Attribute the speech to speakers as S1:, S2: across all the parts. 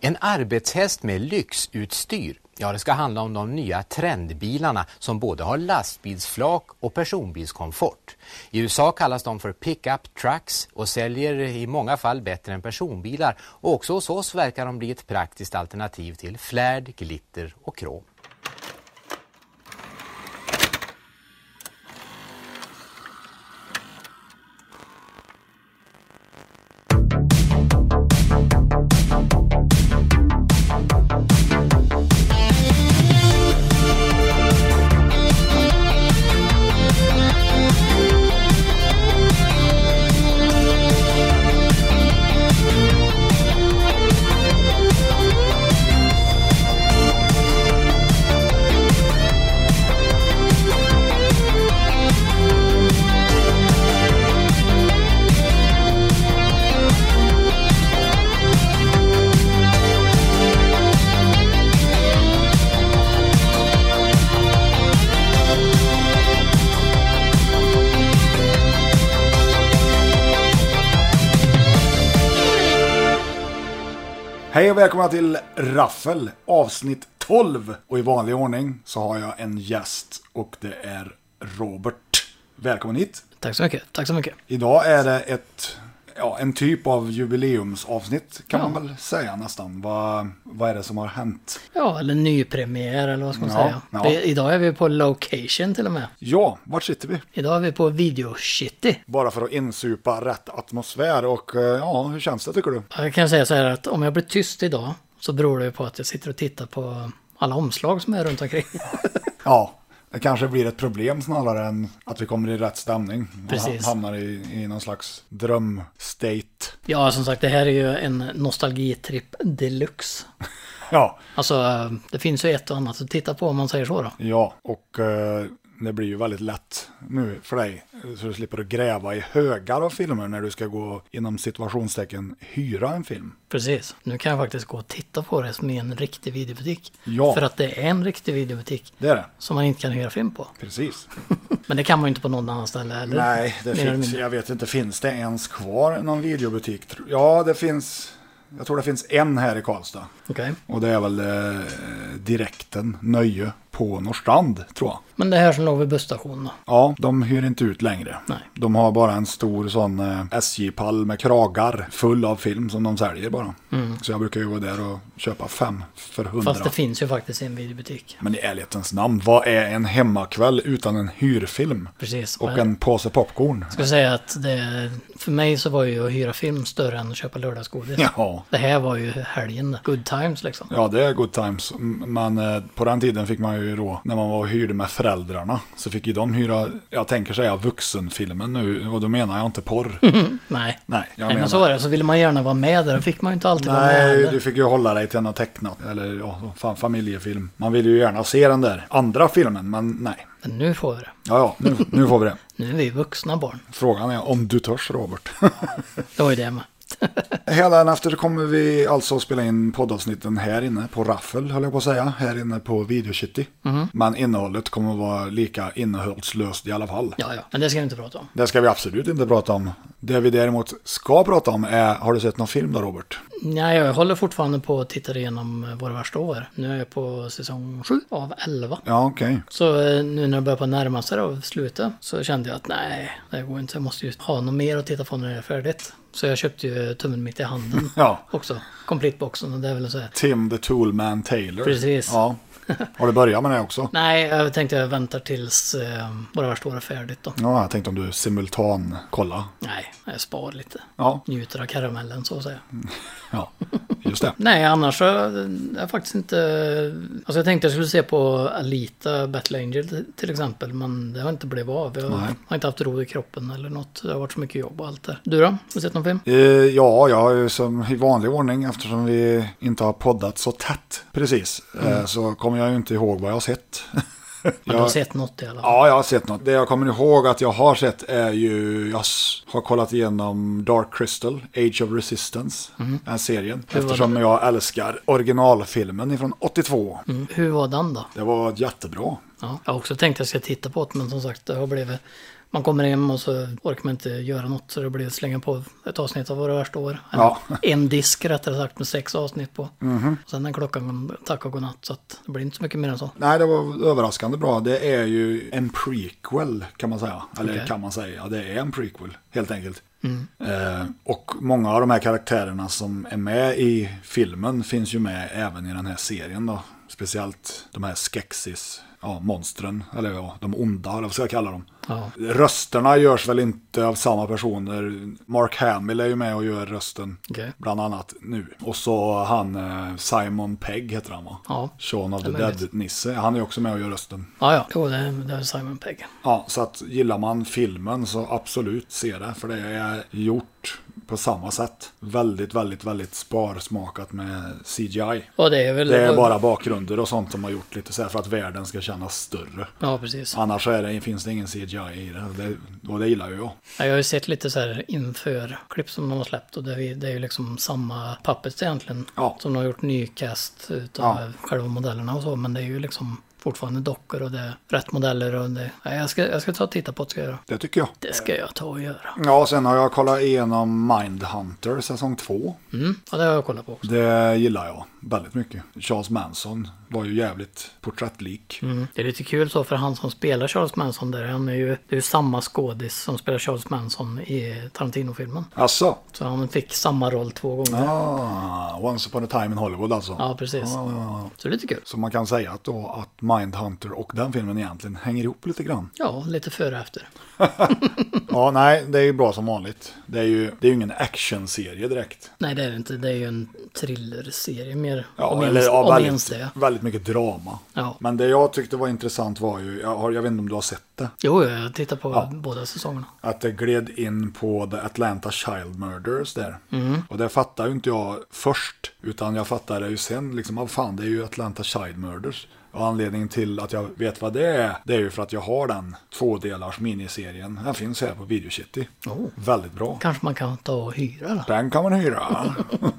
S1: En arbetshäst med lyxutstyr. Ja, det ska handla om de nya trendbilarna som både har lastbilsflak och personbilskomfort. I USA kallas de för pickup trucks och säljer i många fall bättre än personbilar. Och också hos oss verkar de bli ett praktiskt alternativ till flärd, glitter och krom.
S2: Hej och välkomna till Raffel avsnitt 12. Och i vanlig ordning så har jag en gäst och det är Robert. Välkommen hit.
S3: Tack så mycket. Tack så mycket.
S2: Idag är det ett, ja, en typ av jubileumsavsnitt kan man väl säga nästan. Vad, vad är det som har hänt?
S3: Ja, eller nypremiär eller vad ska man
S2: Ja,
S3: säga.
S2: ja.
S3: Vi, idag är vi på location till och med.
S2: Ja, vart sitter vi?
S3: Idag är vi på Video City.
S2: Bara för att insupa rätt atmosfär och eh, ja, hur känns det tycker du?
S3: Jag kan säga så här att om jag blir tyst idag så beror det ju på att jag sitter och tittar på alla omslag som är runt omkring.
S2: Ja, det kanske blir ett problem snarare än att vi kommer i rätt stämning. och
S3: Precis.
S2: ha- hamnar i, i någon slags drömstate.
S3: Ja, som sagt, det här är ju en nostalgitripp deluxe.
S2: Ja,
S3: Alltså, eh, det finns ju ett och annat att titta på om man säger så då.
S2: Ja, och eh, det blir ju väldigt lätt nu för dig. Så du slipper att gräva i högar av filmer när du ska gå inom situationstecken hyra en film.
S3: Precis. Nu kan jag faktiskt gå och titta på det som i en riktig videobutik.
S2: Ja.
S3: För att det är en riktig videobutik
S2: Det är det.
S3: som man inte kan hyra film på.
S2: Precis.
S3: Men det kan man ju inte på någon annan ställe eller?
S2: Nej, det
S3: Mer eller
S2: finns,
S3: mindre.
S2: jag vet inte, finns det ens kvar någon videobutik? tro- Ja, det finns, jag tror det finns en här i Karlstad.
S3: Okej.
S2: Och det är väl eh, Direkten Nöje på Norrstrand, tror jag.
S3: Men det här som låg vid busstationen då?
S2: Ja, de hyr inte ut längre.
S3: Nej.
S2: De har bara en stor sån eh, SJ-pall med kragar full av film som de säljer bara. Så jag brukar ju gå där och köpa fem för hundra.
S3: Mm. Fast det finns ju faktiskt en videobutik.
S2: Men i ärlighetens namn, vad är en hemmakväll utan en hyrfilm?
S3: Precis.
S2: Och
S3: Men
S2: en påse popcorn?
S3: Jag skulle säga att det, för mig så var ju att hyra film större än att köpa lördagsgodis.
S2: Ja. Mm.
S3: Det här var ju helgen. Good times liksom.
S2: Ja, det är good times. M- Men eh, på den tiden fick man ju då, när man var och hyrde med föräldrarna, så fick ju de hyra, jag tänker säga vuxenfilmen nu, och då menar jag inte porr.
S3: Nej.
S2: Nej, jag
S3: Mm. Nej,
S2: menar...
S3: men så var det. Så ville man gärna vara med där. Då fick man ju inte alltid vara med.
S2: Nej,
S3: heller.
S2: du fick ju hålla dig till något tecknat eller ja, fan, familjefilm. Man vill ju gärna se den där andra filmen, men nej.
S3: Men nu får vi det.
S2: Ja, ja, nu, nu får vi det.
S3: Nu är vi vuxna barn.
S2: Frågan är om du törs, Robert.
S3: Det var ju det med.
S2: Hela dagen efter kommer vi alltså att spela in poddavsnitten här inne på Raffel, höll jag på att säga. Här inne på Video City.
S3: Mhm.
S2: Men innehållet kommer att vara lika innehållslöst i alla fall.
S3: Ja, ja. Men det ska vi inte prata om.
S2: Det ska vi absolut inte prata om. Det vi däremot ska prata om är, har du sett någon film då, Robert?
S3: Nej, jag håller fortfarande på att titta igenom våra värsta år. Nu är jag på säsong 7 av 11.
S2: Ja, okej.
S3: Så eh, nu när det börjar på närma sig då, slutet så kände jag att nej, det går inte. Jag måste ju ha något mer att titta på när det är färdigt. Så jag köpte ju tummen mitt i handen
S2: Ja.
S3: också. Complete-boxen och det är väl så här.
S2: Tim the Toolman Taylor.
S3: Precis.
S2: Ja. Har du börjat med det också?
S3: Nej, jag tänkte jag väntar tills eh, våra värsta år är färdigt då.
S2: Ja, jag tänkte om du simultan kolla.
S3: Nej, jag spar lite.
S2: Ja,
S3: Njuter av karamellen så att säga.
S2: ja, just det.
S3: Nej, annars så har jag faktiskt inte... Alltså jag tänkte jag skulle se på Alita Battle Angel t- till exempel, men det har inte blivit av. Jag
S2: Nej.
S3: har inte haft ro i kroppen eller något. Det har varit så mycket jobb och allt där. Du då? Har du sett någon film?
S2: Eh, Ja, jag har ju som i vanlig ordning, eftersom vi inte har poddat så tätt precis, eh,
S3: Mm.
S2: så kommer jag ju inte ihåg vad jag har sett.
S3: Men du har sett något i alla fall.
S2: Ja, jag har sett något. Det jag kommer ihåg att jag har sett är ju, jag s- har kollat igenom Dark Crystal, Age of Resistance, den serien.
S3: Mm. Hur var
S2: Eftersom jag älskar originalfilmen ifrån 82.
S3: Mm. Hur var den då?
S2: Det var jättebra.
S3: Ja. Jag har också tänkt att jag ska titta på det, men som sagt, det har blivit Man kommer hem och så orkar man inte göra något så det blir att slänga på ett avsnitt av våra värsta år. En,
S2: Ja. Mhm.
S3: en disk rättare sagt med sex avsnitt på. Sen är klockan tack och godnatt så att det blir inte så mycket mer än så.
S2: Nej, det var överraskande bra. Det är ju en prequel kan man säga. Eller
S3: Okej.
S2: kan man säga, ja, det är en prequel helt enkelt. Eh, och många av de här karaktärerna som är med i filmen finns ju med även i den här serien då. Speciellt de här Skeksis, ja, monstren, eller ja, de onda, eller vad ska jag kalla dem?
S3: Ja.
S2: Rösterna görs väl inte av samma personer. Mark Hamill är ju med och gör rösten.
S3: Okej.
S2: Bland annat nu. Och så han eh, Simon Pegg heter han va?
S3: Ja.
S2: Shaun of the
S3: Det är möjligt.
S2: Dead-Nisse. Han är också med och gör rösten.
S3: Ja, ja. Jo, det är, det är Simon Pegg.
S2: Ja, så att gillar man filmen så absolut se det. För det är gjort på samma sätt. Väldigt, väldigt, väldigt sparsmakat med CGI.
S3: Och det är väl...
S2: Det är bara bakgrunder och sånt som har gjort lite så här för att världen ska kännas större.
S3: Ja, precis.
S2: Annars så är det, finns det ingen CGI i det. Och det, och det gillar ju jag.
S3: Jag har ju sett lite så här inför klipp som de har släppt och det är, det är ju liksom samma puppets egentligen.
S2: Ja.
S3: Som de har gjort nycast utav själva modellerna och så. Men det är ju liksom fortfarande dockor och det är rätt modeller och det... Ja, jag, ska, jag ska ta och titta på det ska jag göra.
S2: Det tycker jag.
S3: Det ska jag ta och göra.
S2: Ja, sen har jag kollat igenom Mindhunter säsong 2.
S3: Mm. Ja, det har jag kollat på också.
S2: Det gillar jag väldigt mycket. Charles Manson var ju jävligt porträttlik.
S3: Mm. Det är lite kul så för han som spelar Charles Manson där, han är ju, det är ju samma skådis som spelar Charles Manson i Tarantino-filmen.
S2: Alltså,
S3: Så han fick samma roll två gånger. Ja,
S2: ah, Once upon a time in Hollywood alltså.
S3: precis.
S2: Ah.
S3: Så det är lite kul.
S2: Så man kan säga att, då, att Mindhunter och den filmen egentligen hänger ihop lite grann.
S3: Ja, lite före och efter.
S2: Ja, nej, det är ju bra som vanligt. Det är ju, det är ju ingen actionserie direkt.
S3: Nej, det är det inte. Det är ju en thrillerserie mer.
S2: Ja,
S3: om
S2: eller,
S3: ens,
S2: ja,
S3: om
S2: väldigt,
S3: ens det.
S2: väldigt mycket drama.
S3: Ja.
S2: Men det jag tyckte var intressant var ju, jag, har, jag vet inte om du har sett det,
S3: Jo, jo, jag tittar på båda säsongerna.
S2: Att det gled in på The Atlanta Child Murders där. Och det fattar ju inte jag först. Utan jag fattar det ju sen. Liksom, vad fan, det är ju Atlanta Child Murders. Och anledningen till att jag vet vad det är, det är ju för att jag har den tvådelars miniserien. Den finns här på Video City.
S3: Oh.
S2: Väldigt bra.
S3: Kanske man kan ta och hyra då.
S2: Den kan man hyra.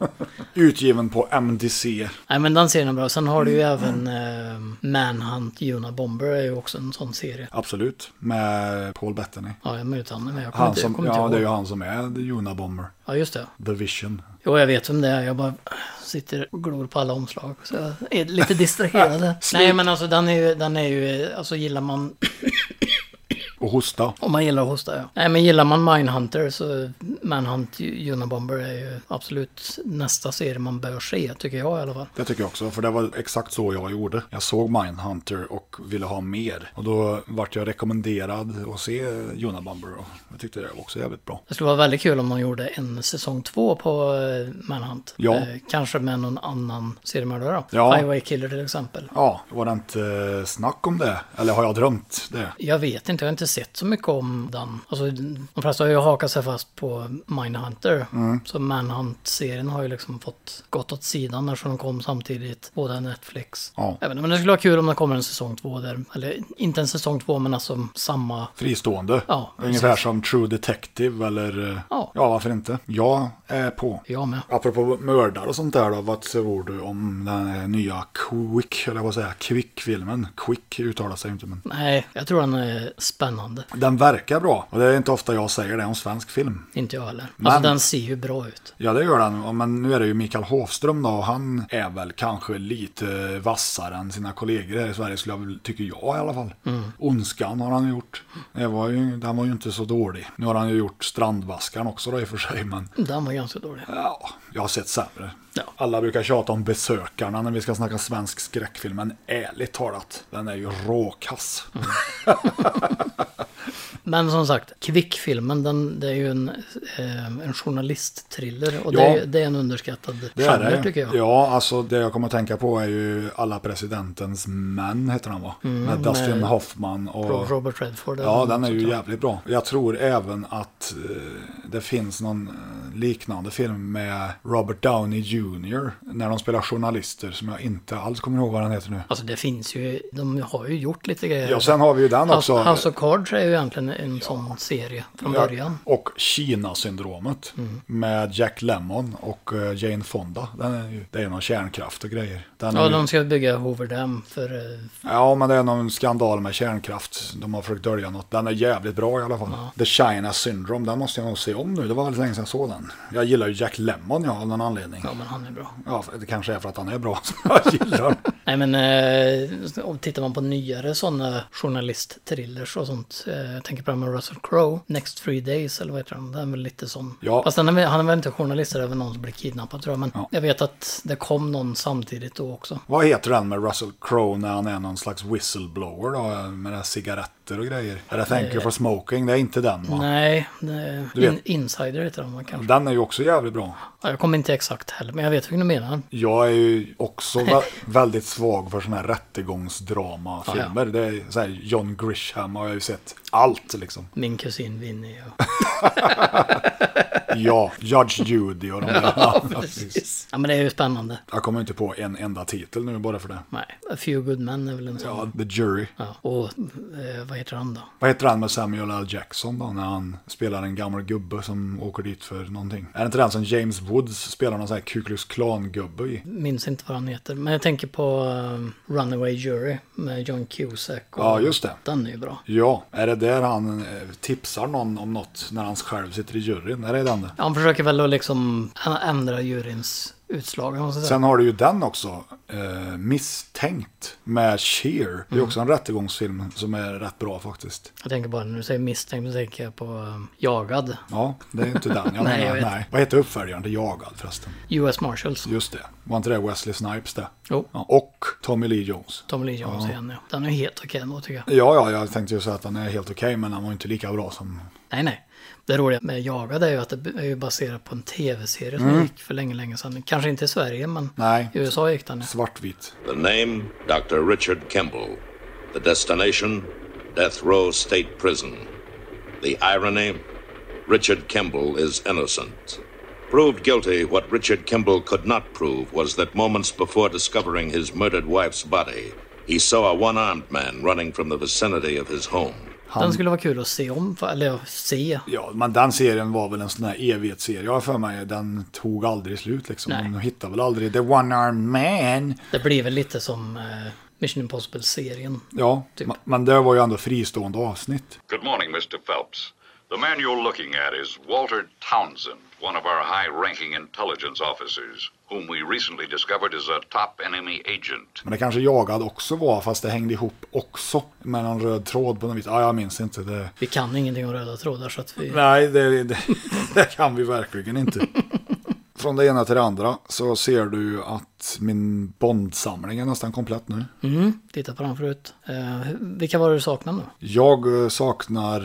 S2: Utgiven på MDC.
S3: Nej, men den serien är bra. Sen har du ju även eh, Manhunt, Juna Bomber är ju också en sån serie.
S2: Absolut. Med Paul Bettany.
S3: Ja, jag är möjligt han är med. Jag kommer
S2: Han
S3: inte, jag
S2: som,
S3: kommer inte
S2: ja,
S3: ihåg.
S2: det är ju han som är The Juna Bomber.
S3: Ja, just det.
S2: The Vision.
S3: Jo, jag vet vem det är. Jag bara sitter och glor på alla omslag. Så jag är lite distraherad. Nej, men alltså den är ju, den är ju, alltså gillar man
S2: Och hosta.
S3: Om man gillar att hosta, ja. Nej, men gillar man Mindhunter så Manhunt Unabomber är ju absolut nästa serie man bör se, tycker jag i alla fall.
S2: Det tycker jag också, för det var exakt så jag gjorde. Jag såg Mindhunter och ville ha mer. Och då vart jag rekommenderad att se Jona Bomber och jag tyckte det var också jävligt bra.
S3: Det skulle vara väldigt kul om de gjorde en säsong två på eh, Manhunt. Eh,
S2: Ja.
S3: kanske med någon annan seriemördare då.
S2: Ja.
S3: Highway Killer till exempel.
S2: Ja, var det inte eh, snack om det? Eller har jag drömt det?
S3: Jag vet inte, jag har inte sett så mycket om den. Alltså, de flesta har ju hakat sig fast på Mindhunter.
S2: Mm.
S3: Så Manhunt-serien har ju liksom fått gått åt sidan eftersom de kom samtidigt. Båda Netflix.
S2: Ja.
S3: Jag vet inte, men det skulle vara kul om det kommer en säsong två där. Eller inte en säsong två, men alltså samma...
S2: Fristående.
S3: Ja,
S2: Ungefär som True Detective eller... eh,
S3: Ja.
S2: ja, varför inte? Jag är på.
S3: Jag med.
S2: Apropå mördare och sånt där då, vad tror du om den här nya Quick, eller vad säger jag, Quick-filmen? Quick uttalar sig inte men.
S3: Nej, jag tror den är spännande.
S2: Den verkar bra, och det är inte ofta jag säger det om svensk film.
S3: Inte jag heller. Alltså
S2: Men-
S3: den ser ju bra ut.
S2: Ja det gör han, Ja, men nu är det ju Mikael Hofström då och han är väl kanske lite vassare än sina kollegor här i Sverige skulle jag väl, tycker jag i alla fall.
S3: Mm.
S2: Ondskan har han gjort. Det var ju, den var ju inte så dålig. Nu har han ju gjort Strandvaskaren också då i och för sig men
S3: Den var ganska dålig.
S2: ja, jag har sett sämre.
S3: Ja.
S2: Alla brukar tjata om besökarna när vi ska snacka svensk skräckfilm men ärligt talat, den är ju råkass.
S3: Mm. Men som sagt, Kvickfilmen, den det är ju en, eh, en journalistthriller. Och
S2: Ja.
S3: det, är, ju- det är en underskattad
S2: Det är
S3: genre
S2: det.
S3: tycker jag.
S2: Ja, alltså det jag kommer att tänka på är ju Alla presidentens män heter han va?
S3: Mm,
S2: med Dustin
S3: med
S2: Hoffman och...
S3: Ro- Robert Redford.
S2: Ja, den är ju jävligt bra. Jag tror även att eh, det finns någon eh, liknande film med Robert Downey Jr. När de spelar journalister som jag inte alls kommer ihåg vad den heter nu.
S3: Alltså det finns ju, de har ju gjort lite grejer.
S2: Ja, sen har vi ju den också.
S3: House, House of Cards är ju egentligen en sån serie från början. Mm.
S2: Och Kina-syndromet med Jack Lemmon och eh, Jane Fonda. Den är ju, det är ju någon kärnkraft och grejer. Den är
S3: Ja,
S2: ju,
S3: de ska bygga Hoover Dam för... eh,
S2: ja, men det är någon skandal med kärnkraft. De har försökt dölja något. Den är jävligt bra i alla fall. The China Syndrome, den måste jag nog se om nu. Det var väldigt länge sedan jag såg den. Jag gillar ju Jack Lemmon ja, av någon anledning.
S3: Ja, men han är bra.
S2: Ja, det kanske är för att han är bra som jag gillar.
S3: Nej men eh, om tittar man på nyare sådana journalistthrillers och sånt. Eh, jag tänker på den med Russell Crowe, Next Three Days eller vad heter den? Den är väl lite sån.
S2: Ja.
S3: Fast den är, väl- han är väl inte journalist, det är väl någon som blir kidnappad tror jag. Men jag vet att det kom någon samtidigt då också.
S2: Vad heter den med Russell Crowe när han är någon slags whistleblower då? Med där cigaretter och grejer. Eller Thank you for smoking, det är inte den va?
S3: Nej, det,
S2: Du vet-
S3: in, Insider heter den va, kanske.
S2: Den är ju också jävligt bra.
S3: Ja, jag kommer inte exakt heller, men jag vet vilken du menar.
S2: Jag är ju också vä- väldigt svag för sådana här rättegångsdramafilmer. Det är så här John Grisham har jag ju sett allt liksom.
S3: Min kusin Vinny och...
S2: Ja, Judge Judy och de där. Ja, precis.
S3: Precis. Ja men det är ju spännande.
S2: Jag kommer inte på en enda titel nu bara för det.
S3: Nej, A Few Good Men är väl en sån. Ja.
S2: Ja, The Jury.
S3: Och eh, vad heter han då?
S2: Vad heter han med Samuel L. Jackson då, när han spelar en gammal gubbe som åker dit för någonting? Är det inte den som James Woods spelar någon sån här Ku Klux Klan-gubbe i?
S3: minns inte vad han heter. Men jag tänker på um, Runaway Jury med John Cusack. Och
S2: Ja, just det.
S3: Den är ju bra.
S2: Ja, är det där han eh, tipsar någon om något när han själv sitter i juryn? Är det den? det?
S3: Han försöker väl att liksom han ändra juryns utslag. om man ska säga.
S2: Sen har du ju den också, eh, Misstänkt med Sheer. Det är också en rättegångsfilm som är rätt bra faktiskt.
S3: Jag tänker bara när du säger misstänkt, då tänker jag på um, Jagad.
S2: Ja, det är ju inte den jag
S3: Nej,
S2: menar.
S3: jag vet.
S2: nej. Vad heter uppföljaren till Jagad förresten?
S3: US Marshals.
S2: Just det, var inte det Wesley Snipes det?
S3: Jo.
S2: Ja, och Tommy Lee Jones.
S3: Tommy Lee Jones igen ja. Den är ju helt okej ändå tycker jag.
S2: Ja, ja, jag tänkte ju säga att han är helt okej, men han var ju inte lika bra som...
S3: Nej, nej. Det roliga med Jagad är ju att det är ju baserat på en tv-serie som gick för länge, länge sedan. Kanske inte i Sverige, men
S2: Mm. Nej.
S3: i USA gick den. Ja.
S2: Svartvit.
S4: The name, Dr. Richard Kemble. The destination, Death Row State Prison. The irony, Richard Kemble is innocent. Proved guilty, what Richard Kemble could not prove was that moments before discovering his murdered wife's body, he saw a one armed man running from the vicinity of his home.
S3: Den skulle vara kul att se om, för- eller ja, se.
S2: Ja, men den serien var väl en sån här evighetsserie. Jag har för mig den tog aldrig slut liksom.
S3: Nej.
S2: De hittade väl aldrig The One-Armed Man.
S3: Det blir väl lite som eh, Mission Impossible-serien.
S2: Ja,
S3: Typ.
S2: ma- men det var ju ändå fristående avsnitt.
S5: Good morning, Mr. Phelps. The man you're looking at is Walter Townsend, one of our high ranking intelligence officers, whom we recently discovered is a top enemy agent.
S2: Men det kanske Jagad också var, fast det hängde ihop också med någon röd tråd på något vis. Ja, jag minns inte. Det...
S3: Vi kan ingenting om röda trådar så att vi...
S2: Nej, det, det, det kan vi verkligen inte. Från det ena till det andra så ser du att min Bond-samling är nästan komplett nu.
S3: Mm, titta på den förut. Eh, vilka var det du saknade nu?
S2: Jag eh, saknar,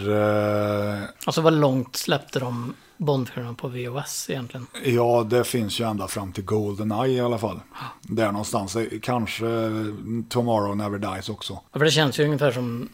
S2: eh,
S3: Alltså vad långt släppte de Bondfilmerna på VHS egentligen?
S2: ja det finns ju ända fram till Goldeneye i alla fall. Där någonstans, Eh, kanske Tomorrow Never Dies också.
S3: Ja, För det känns ju ungefär som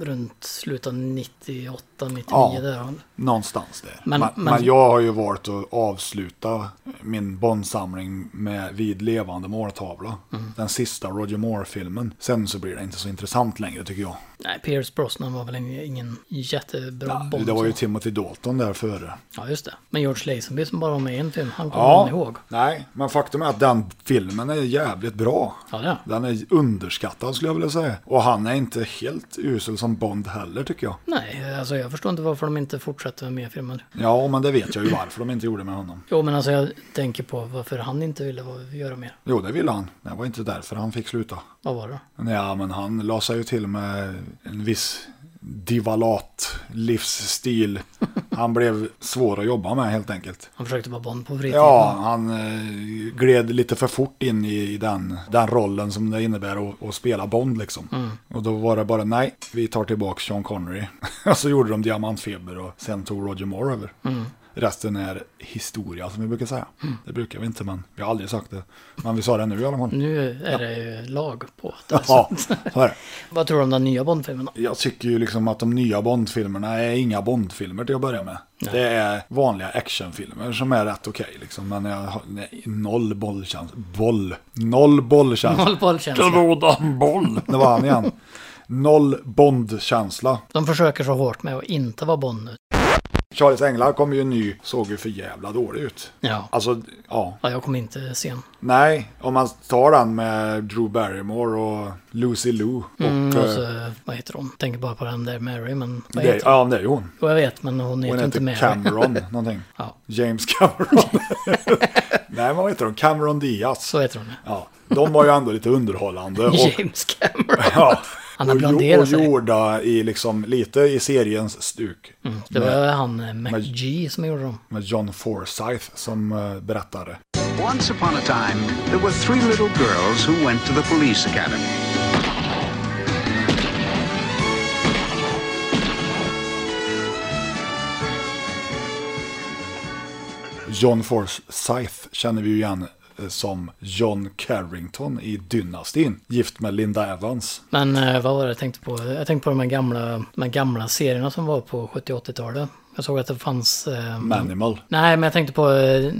S3: runt slutet av 98, 99
S2: Ja.
S3: där.
S2: Någonstans där.
S3: Men-
S2: Men, men,
S3: men-
S2: jag har ju valt att avsluta min Bond-samling med Vid levande måltavla. Den sista Roger Moore-filmen. Sen så blir det inte så intressant längre tycker jag.
S3: Nej, Pierce Brosnan var väl ingen, ingen jättebra Bond.
S2: det var ju
S3: så.
S2: Timothy Dalton där före.
S3: Ja, just det. Men George Lazenby som bara var med i en film, han kommer man ihåg.
S2: nej, men faktum är att den filmen är jävligt bra.
S3: Ja, det är han.
S2: Den är underskattad skulle jag vilja säga. Och han är inte helt usel som Bond heller tycker jag.
S3: Nej, alltså jag förstår inte varför de inte fortsätter med mer filmer.
S2: Ja, men det vet jag ju varför de inte gjorde med honom.
S3: Jo, men alltså jag tänker på varför han inte ville vara- göra mer.
S2: Jo, det ville han. Det var inte därför han fick sluta.
S3: Vad var det?
S2: Ja, men han la sig ju till med en viss divalat livsstil. Han blev svår att jobba med helt enkelt.
S3: Han försökte vara Bond på fritiden.
S2: Ja, han eh, gled lite för fort in i, i den, den rollen som det innebär att, att spela Bond liksom. Och då var det bara nej, vi tar tillbaka Sean Connery. och så gjorde de Diamantfeber och sen tog Roger Moore över. Resten är historia som vi brukar säga. Det brukar vi inte, men vi har aldrig sagt det. Men vi sa det nu i alla fall.
S3: Nu är det ju lag på det.
S2: Ja, så är det.
S3: Vad tror du om den nya Bond-filmen då?
S2: Jag tycker ju liksom att de nya Bondfilmerna är inga Bondfilmer till att börja med. Det är vanliga actionfilmer som är rätt okej liksom. Men jag har nej, noll bollchans. Boll. Noll bollchans.
S3: Noll bollkänsla.
S2: Godan boll. Det var han igen. Noll Bond-känsla.
S3: De försöker så hårt med att inte vara Bond nu.
S2: Charlies Änglar kom ju en ny, såg ju för jävla dålig ut.
S3: Ja.
S2: Alltså, ja.
S3: ja, jag kommer inte se en.
S2: Nej, om man tar den med Drew Barrymore och Lucy Liu. Och,
S3: Mm, och
S2: eh,
S3: så, vad heter hon? Tänker bara på den där Mary, men vad
S2: det,
S3: heter hon?
S2: ja, det är ju hon.
S3: Jo, jag vet, men hon heter
S2: Hon
S3: inte
S2: heter
S3: Mary.
S2: Cameron någonting.
S3: Ja.
S2: James Cameron. Nej, men vad heter hon? Cameron Diaz.
S3: Så heter hon. ja.
S2: Ja, de var ju ändå lite underhållande. Och,
S3: James Cameron.
S2: ja,
S3: Han har
S2: och,
S3: blonderat
S2: gjo- och
S3: sig.
S2: gjorda i liksom, lite i seriens stuk.
S3: Det var han eh,
S2: Men-
S3: McG som gjorde dem.
S2: Med John Forsyth som eh, berättare.
S6: Once upon a time, there were three little girls who went to the police academy.
S2: John Forsyth känner vi ju igen eh, som John Carrington i Dynastin, gift med Linda Evans.
S3: Men eh, vad var det jag tänkte på? Jag tänkte på de här gamla, de här gamla serierna som var på 70-80-talet. Jag såg att det fanns... Eh,
S2: Manimal.
S3: Nej, men jag tänkte på... eh,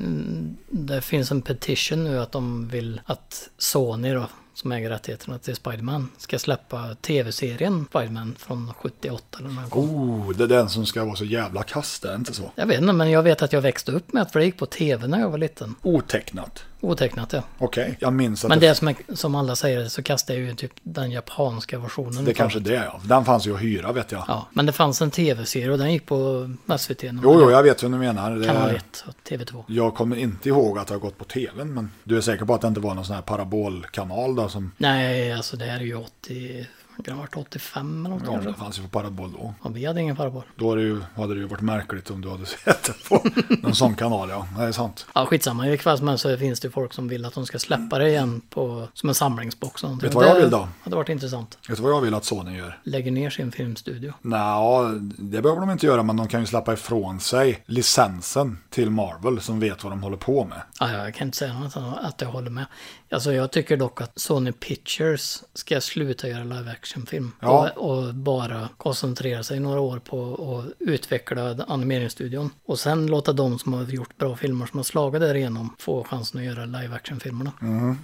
S3: Det finns en petition nu att de vill att Sony då, som äger rättigheterna till Spiderman, ska släppa tv-serien Spiderman från 78 eller något.
S2: Oh, det är den som ska vara så jävla kass, det är inte så?
S3: Jag vet inte, men jag vet att jag växte upp med att för det gick på tv när jag var liten.
S2: Otecknat.
S3: Otecknat ja.
S2: Okej, jag minns att
S3: Men det som, är, som alla säger så kastade jag ju typ den japanska versionen.
S2: det
S3: utav
S2: kanske är det ja. Den fanns ju att hyra vet jag.
S3: Ja, men det fanns en tv-serie och den gick på SVT. nu.
S2: Jo, jo, jag vet hur du menar. Det...
S3: Kanal 1 och TV2.
S2: Jag kommer inte ihåg att det har gått på tvn, men du är säker på att det inte var någon sån här parabolkanal då som...
S3: Nej, alltså det här är ju 80... Kan det ha varit 85 eller något
S2: Ja, det
S3: kanske?
S2: fanns ju på parabol då.
S3: Ja, vi hade ingen parabol.
S2: Då hade det, ju, hade det ju varit märkligt om du hade sett det på någon sån kanal, ja. Det är sant.
S3: Ja, skitsamma. I vilket fall som helst så finns det ju folk som vill att de ska släppa det igen på, som en samlingsbox. Vet
S2: Vet du vad jag vill då?
S3: Det hade varit intressant.
S2: Vet du vad jag vill att Sony gör?
S3: Lägger ner sin filmstudio.
S2: Nja, det behöver de inte göra, men de kan ju släppa ifrån sig licensen till Marvel som vet vad de håller på med.
S3: Ja, jag kan inte säga något annat än att jag håller med. Alltså jag tycker dock att Sony Pictures ska sluta göra live action-film.
S2: Ja.
S3: Och, och bara koncentrera sig några år på att utveckla animeringsstudion. Och sen låta de som har gjort bra filmer som har slagit därigenom få chansen att göra live action-filmerna.
S2: Mm-hmm.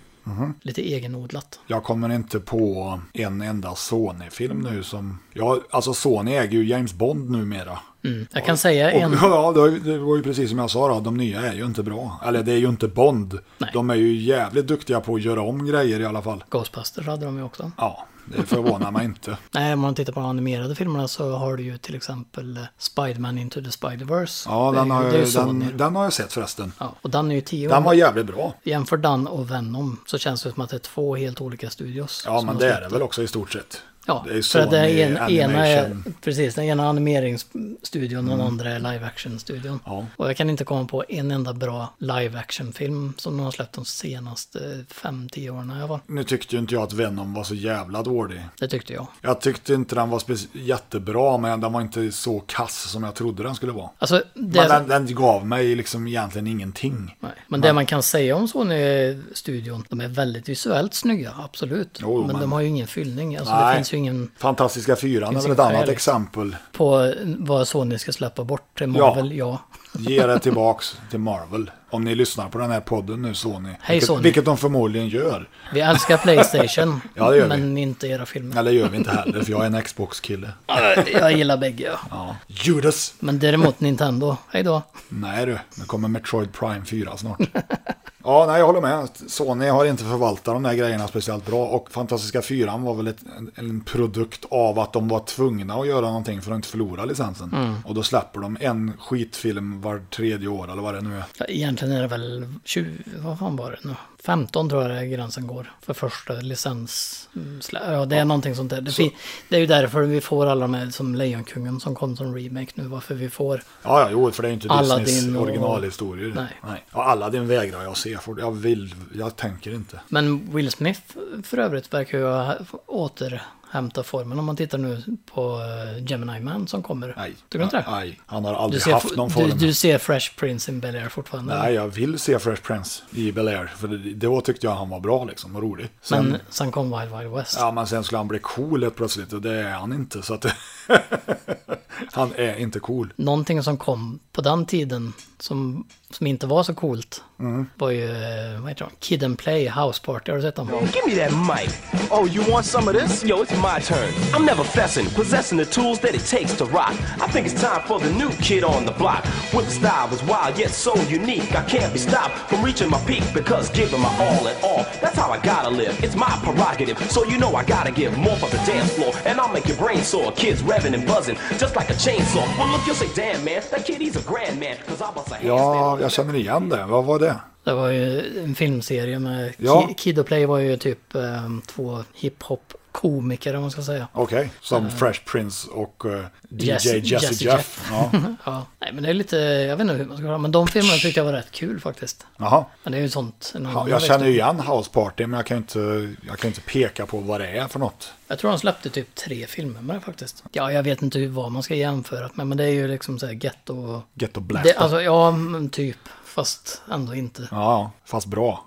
S3: Lite egenodlat.
S2: Jag kommer inte på en enda Sony-film nu som... Ja, alltså Sony äger ju James Bond numera.
S3: Jag kan säga
S2: Och,
S3: en...
S2: ja, det var ju- det var ju precis som jag sa då, de nya är ju inte bra. Eller det är ju inte Bond.
S3: Nej.
S2: De är ju jävligt duktiga på att göra om grejer i alla fall.
S3: Ghostbusters hade de ju också.
S2: Ja, det förvånar mig inte.
S3: Nej, om man tittar på de animerade filmerna så har du ju till exempel eh, Spiderman Into the Spiderverse.
S2: Ja,
S3: Det är
S2: den
S3: ju-
S2: har,
S3: det är ju
S2: jag-
S3: Sony.
S2: den, den har jag sett förresten.
S3: Ja, och den är ju tio år
S2: Den var jävligt bra.
S3: Jämför Dan och Venom så känns det som att det är två helt olika studios.
S2: Ja,
S3: som
S2: men
S3: har
S2: det är
S3: släppt
S2: det väl också i stort sett.
S3: Ja,
S2: det är
S3: för att det är en,
S2: Sony
S3: ena är,
S2: Animation. Mm.
S3: precis, den ena är animeringsstudion och den andra är live action-studion.
S2: Ja.
S3: Och jag kan inte komma på en enda bra live action-film som de har släppt de senaste fem, tio åren jag var.
S2: Nu tyckte ju inte jag att Venom var så jävla dålig.
S3: Det tyckte jag.
S2: Jag tyckte inte den var speci- jättebra, men den var inte så kass som jag trodde den skulle vara.
S3: Alltså,
S2: Men
S3: det,
S2: den, den gav mig liksom egentligen ingenting.
S3: Nej. Men det man kan säga om Sony-studion, de är väldigt visuellt snygga, absolut.
S2: Jo,
S3: men,
S2: men-
S3: de har ju ingen fyllning. Alltså, det
S2: Nej.
S3: finns ju ingen liksom.
S2: Fantastiska fyran
S3: Finns
S2: är väl ett
S3: inget
S2: annat
S3: skäl.
S2: exempel.
S3: på vad Sony ska släppa bort till Marvel. ja.
S2: Ge det tillbaks till Marvel. Om ni lyssnar på den här podden nu Sony.
S3: Hej,
S2: vilket,
S3: Sony.
S2: vilket de förmodligen gör.
S3: Vi älskar Playstation,
S2: Ja, det gör vi.
S3: men inte era filmer.
S2: Eller gör vi inte heller för jag är en Xbox-kille.
S3: Jag gillar bägge. ja.
S2: Ja. Judas!
S3: Men däremot Nintendo, hej då.
S2: Nej du, nu kommer Metroid Prime 4 snart. Ja, nej jag håller med. Sony har inte förvaltat de där grejerna speciellt bra. Och Fantastiska 4 var väl ett, en, en produkt av att de var tvungna att göra någonting för att inte förlora licensen.
S3: Mm.
S2: Och då släpper de en skitfilm var tredje år eller vad det nu är.
S3: Ja, Egentligen är det väl 20, vad fan var det nu? 15 tror jag det är gränsen går för första licens. mm, slä- Ja, det är någonting sånt där. Det, fin- det är ju därför vi får alla de här som Lejonkungen som kom som remake nu. Varför vi får
S2: Ja, ja, jo, för det är ju inte
S3: Aladdin
S2: Disneys
S3: och-
S2: originalhistorier.
S3: Nej.
S2: Ja, Aladdin vägrar jag se, för jag vill, jag tänker inte.
S3: Men Will Smith för övrigt verkar ju ha återhämta formen om man tittar nu på eh, Gemini Man som kommer.
S2: Nej.
S3: Tycker du inte det?
S2: Nej, han har
S3: Du
S2: aldrig
S3: ser,
S2: haft någon form.
S3: du, du ser Fresh Prince in Bel-Air fortfarande?
S2: Nej, jag vill se Fresh Prince i Bel Air, för det, då tyckte jag han var bra liksom, och rolig. Sen,
S3: Men sen kom Wild Wild West.
S2: Ja, men sen skulle han bli cool helt plötsligt, och det är han inte, så att... han är inte cool.
S3: Någonting som kom på den tiden som, som inte var så
S2: Mm.
S3: coolt var ju, eh, vad heter de? Kid and Play House Party, har du sett dem?
S7: Give me that mic. Oh, you want some of this? Yo, it's my turn. I'm never fessing, possessing the tools that it takes to rock. I think it's time for the new kid on the block. With the style was wild, yet so unique. I can't be stopped from reaching my peak because giving my all and all. That's how I gotta live. It's my prerogative, so you know I gotta give more for the dance floor. And I'll make your brain sore. Kids revving and buzzing, just like a chainsaw. Well, look, you'll say, damn, man, that kid, he's a grand man. Cause I bust a handstand
S2: Ja, jag känner igen det. Vad var det?
S3: Det var ju en filmserie med
S2: Ja.
S3: Ki- Kid och Play var ju typ eh, två hiphop-komiker om man ska säga.
S2: Okej, som Fresh Prince och eh, DJ
S3: Eh.
S2: Jesse,
S3: Jesse- Jesse
S2: Jeff.
S3: Jeff.
S2: Ja.
S3: Ja, nej men det är lite, jag vet inte hur man ska kalla det, men de filmerna tyckte jag var rätt kul faktiskt.
S2: Jaha.
S3: Men det är ju sånt. en
S2: Ja,
S3: annan
S2: jag
S3: växt
S2: känner ju
S3: upp.
S2: igen House Party, men jag kan ju inte, jag kan ju inte peka på vad det är för något.
S3: jag tror de släppte typ tre filmer med det faktiskt. Ja, jag vet inte hur- vad man ska jämföra med, men det är ju liksom så här ghetto.
S2: Ghetto Blaster.
S3: Det, alltså, ja, men typ. Fast ändå inte.
S2: Ja, fast bra.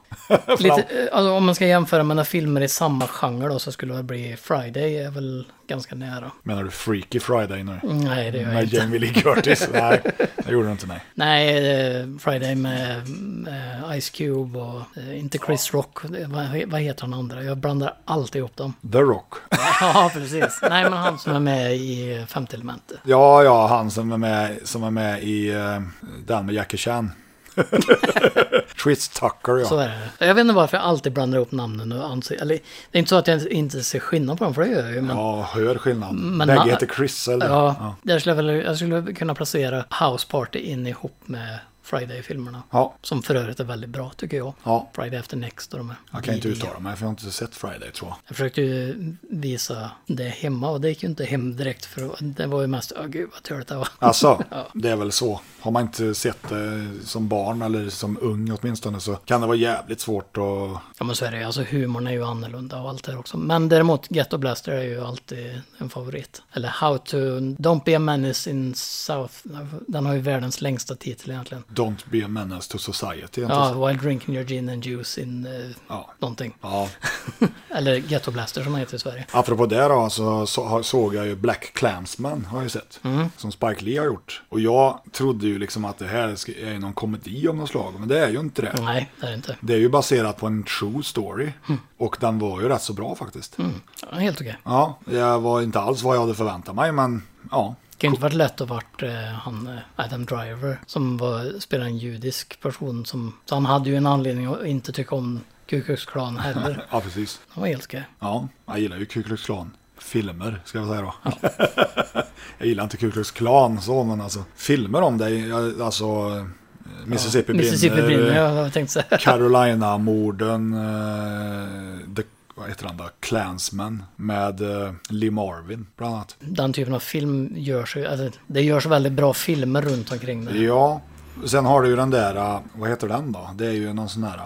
S3: Lite, eh, alltså, om man ska jämföra med när filmer i samma genre då så skulle det bli Friday är väl ganska nära.
S2: Menar du Freaky Friday nu?
S3: Nej, det gör Mm, jag
S2: Med
S3: inte.
S2: Jamie Lee Curtis? nej, det gjorde du inte, nej.
S3: Nej, eh, Friday med, med Ice Cube och eh, inte Chris Rock. Det- Vad, vad heter han andra? Jag blandar alltid ihop dem.
S2: The Rock.
S3: Ja, precis. Nej, men han som är med i Femte elementet.
S2: Ja, ja, han som är med, som är med i eh, den med Jackie Chan. Tris Tucker,
S3: Så
S2: ja.
S3: är det. Jag vet inte varför jag alltid blandar ihop namnen och ansikten. Eller, det är inte så att jag inte ser skillnad på dem, för det gör jag ju. Men, ja.
S2: Ja, hör skillnad.
S3: Men
S2: Bägge
S3: han-
S2: heter Chris, eller?
S3: Jag, skulle väl, jag skulle kunna placera House Party in ihop med Friday-filmerna.
S2: Ja.
S3: Som för övrigt är väldigt bra, tycker jag.
S2: Ja.
S3: Friday After Next och de här.
S2: Jag kan inte
S3: vidriga.
S2: uttala mig, för jag har inte sett Friday, tror jag.
S3: Jag försökte ju visa det hemma och det gick ju inte hem direkt för det var ju mest, åh gud vad töligt det var.
S2: Alltså, det är väl så. Har man inte sett det som barn eller som ung åtminstone så kan det vara jävligt svårt att...
S3: Ja men så är det ju, alltså humorn är ju annorlunda och allt det där också. Men däremot Ghetto Blaster är ju alltid en favorit. Eller How to, Don't Be a Menace in South, den har ju världens längsta titel egentligen.
S2: Don't be a menace to society. inte så?
S3: Ja, While Drinking Your Gin and Juice in eh,
S2: Ja.
S3: någonting.
S2: ja.
S3: Eller Ghetto Blaster som den heter i Sverige.
S2: Apropå det då så, så har- såg jag ju Black Clansman har jag ju sett. Som Spike Lee har gjort. Och jag trodde ju liksom att det här ska- är någon komedi om något slag. Men det är ju inte det.
S3: Nej, det är det inte.
S2: Det är ju baserat på en true story. Och den var ju rätt så bra faktiskt.
S3: Ja, helt okej.
S2: Ja, det var inte alls vad jag hade förväntat mig men ja.
S3: Det kan ju inte varit lätt att varit eh, han eh, Adam Driver som var, spelade en judisk person som... Så han hade ju en anledning att inte tycka om Ku Klux Klan heller.
S2: Ja, precis.
S3: Han var helt okej.
S2: Ja, jag gillar ju Ku Klux Klan. Filmer, ska jag säga då. jag gillar inte Ku Klux Klan så, men alltså filmer om dig, jag- alltså eh, Mississippi brinner,
S3: Mississippi brinner,
S2: eh,
S3: jag tänkte så här.
S2: Carolina-morden, eh, The, vad heter han då? Klansman med eh, Lee Marvin bland annat.
S3: Den typen av film görs ju... Alltså, det görs väldigt bra filmer runt omkring det.
S2: Ja, sen har du ju den där, eh, vad heter den då? Det är ju någon sån där, eh,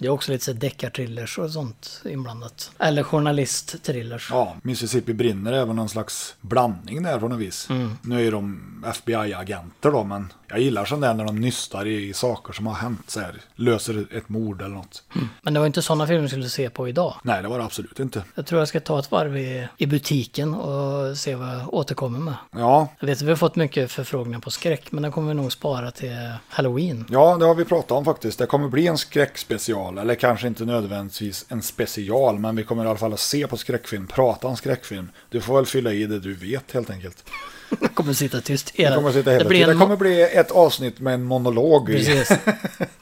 S3: Det är också lite så här deckarthrillers och sånt inblandat. Eller journalistthrillers.
S2: ja, Mississippi brinner är väl någon slags blandning där på något vis.
S3: Mm.
S2: Nu är ju de FBI-agenter då, men jag gillar sånt där när de nystar i saker som har hänt så här, löser ett mord eller något.
S3: Men det var inte sådana filmer vi skulle se på idag.
S2: Nej, det var det absolut inte.
S3: Jag tror jag ska ta ett varv i, i butiken och se vad jag återkommer med.
S2: Ja,
S3: Jag vet att vi har fått mycket förfrågningar på skräck, men den kommer vi nog spara till Halloween.
S2: Ja, det har vi pratat om faktiskt. Det kommer bli en skräckspecial, eller kanske inte nödvändigtvis en special, men vi kommer i alla fall att se på skräckfilm, prata om skräckfilm. Du får väl fylla i det du vet helt enkelt.
S3: Jag kommer sitta tyst
S2: Det
S3: hela...
S2: kommer, att sitta hela
S3: det blir
S2: tiden.
S3: en...
S2: det kommer bli ett avsnitt med en monolog i
S3: Precis.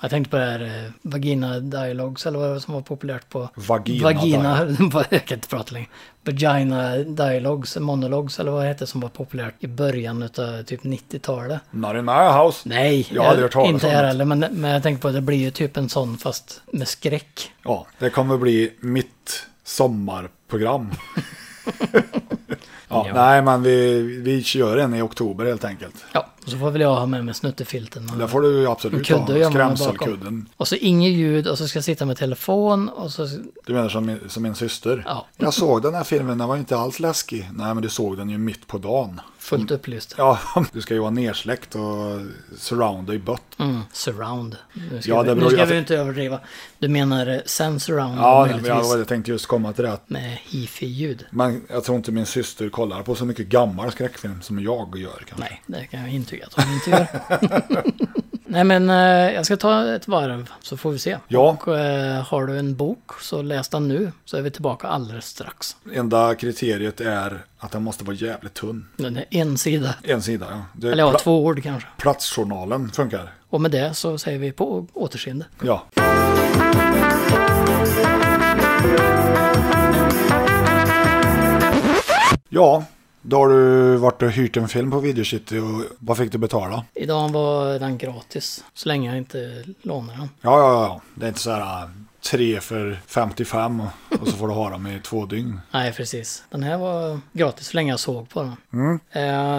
S3: Jag tänkte på det här eh, Vagina Dialogues, eller vad det var som var populärt på...
S2: Vagina
S3: Vagina... jag kan inte prata längre. Vagina Dialogues, Monologues, eller vad det hette som var populärt i början utav typ 90-talet.
S2: Not in my house.
S3: Nej,
S2: Jag har aldrig hört talas
S3: inte
S2: om
S3: jag
S2: det.
S3: heller, men, men jag tänkte på att det blir ju typ en sån fast med skräck.
S2: Ja, det kommer bli mitt sommarprogram. ja,
S3: Ja.
S2: Nej, men vi, vi kör en i oktober helt enkelt.
S3: Ja, och så får väl jag ha med mig snuttefilten. och-
S2: Det får du ju
S3: En
S2: absolut ha,
S3: kudde gömmer mig bakom.
S2: skrämselkudden.
S3: Och så inget ljud och så ska jag sitta med telefon och så...
S2: Du menar som, min- som min syster?
S3: Ja.
S2: Jag såg den här filmen, den var ju inte alls läskig. Nej, men du såg den ju mitt på dagen.
S3: Fullt upplyst.
S2: Mm. Ja, du ska ju vara nersläckt och surrounda i bött.
S3: Mm. Surround. Nu ska,
S2: Ja, det
S3: vi,
S2: beror ju-
S3: nu ska vi ju inte överdriva. Du menar eh, sen surround
S2: Ja, nej, men
S3: möjligtvis.
S2: jag, jag tänkte just komma till det. Att
S3: Med hifi-ljud.
S2: man, jag tror inte min syster kollar på så mycket gammal skräckfilm som jag gör. Kanske.
S3: Nej, det kan jag intyga att hon inte gör. Nej men eh, jag ska ta ett varv så får vi se.
S2: Ja.
S3: Och eh, har du en bok så läs den nu så är vi tillbaka alldeles strax.
S2: Enda kriteriet är att den måste vara jävligt tunn.
S3: Den är en sida.
S2: En sida, ja. Det är
S3: Eller ja,
S2: pla-
S3: två ord kanske.
S2: Platsjournalen funkar.
S3: Och med det så säger vi på återseende.
S2: Ja. Ja, då har du varit och hyrt en film på Videocity och vad fick du betala?
S3: Idag var den gratis, så länge jag inte lånar den.
S2: Ja, ja, ja. Det är inte så här äh, tre för 55 och- och så får du ha dem i två dygn.
S3: Nej, precis. Den här var gratis så länge jag såg på den. Mm.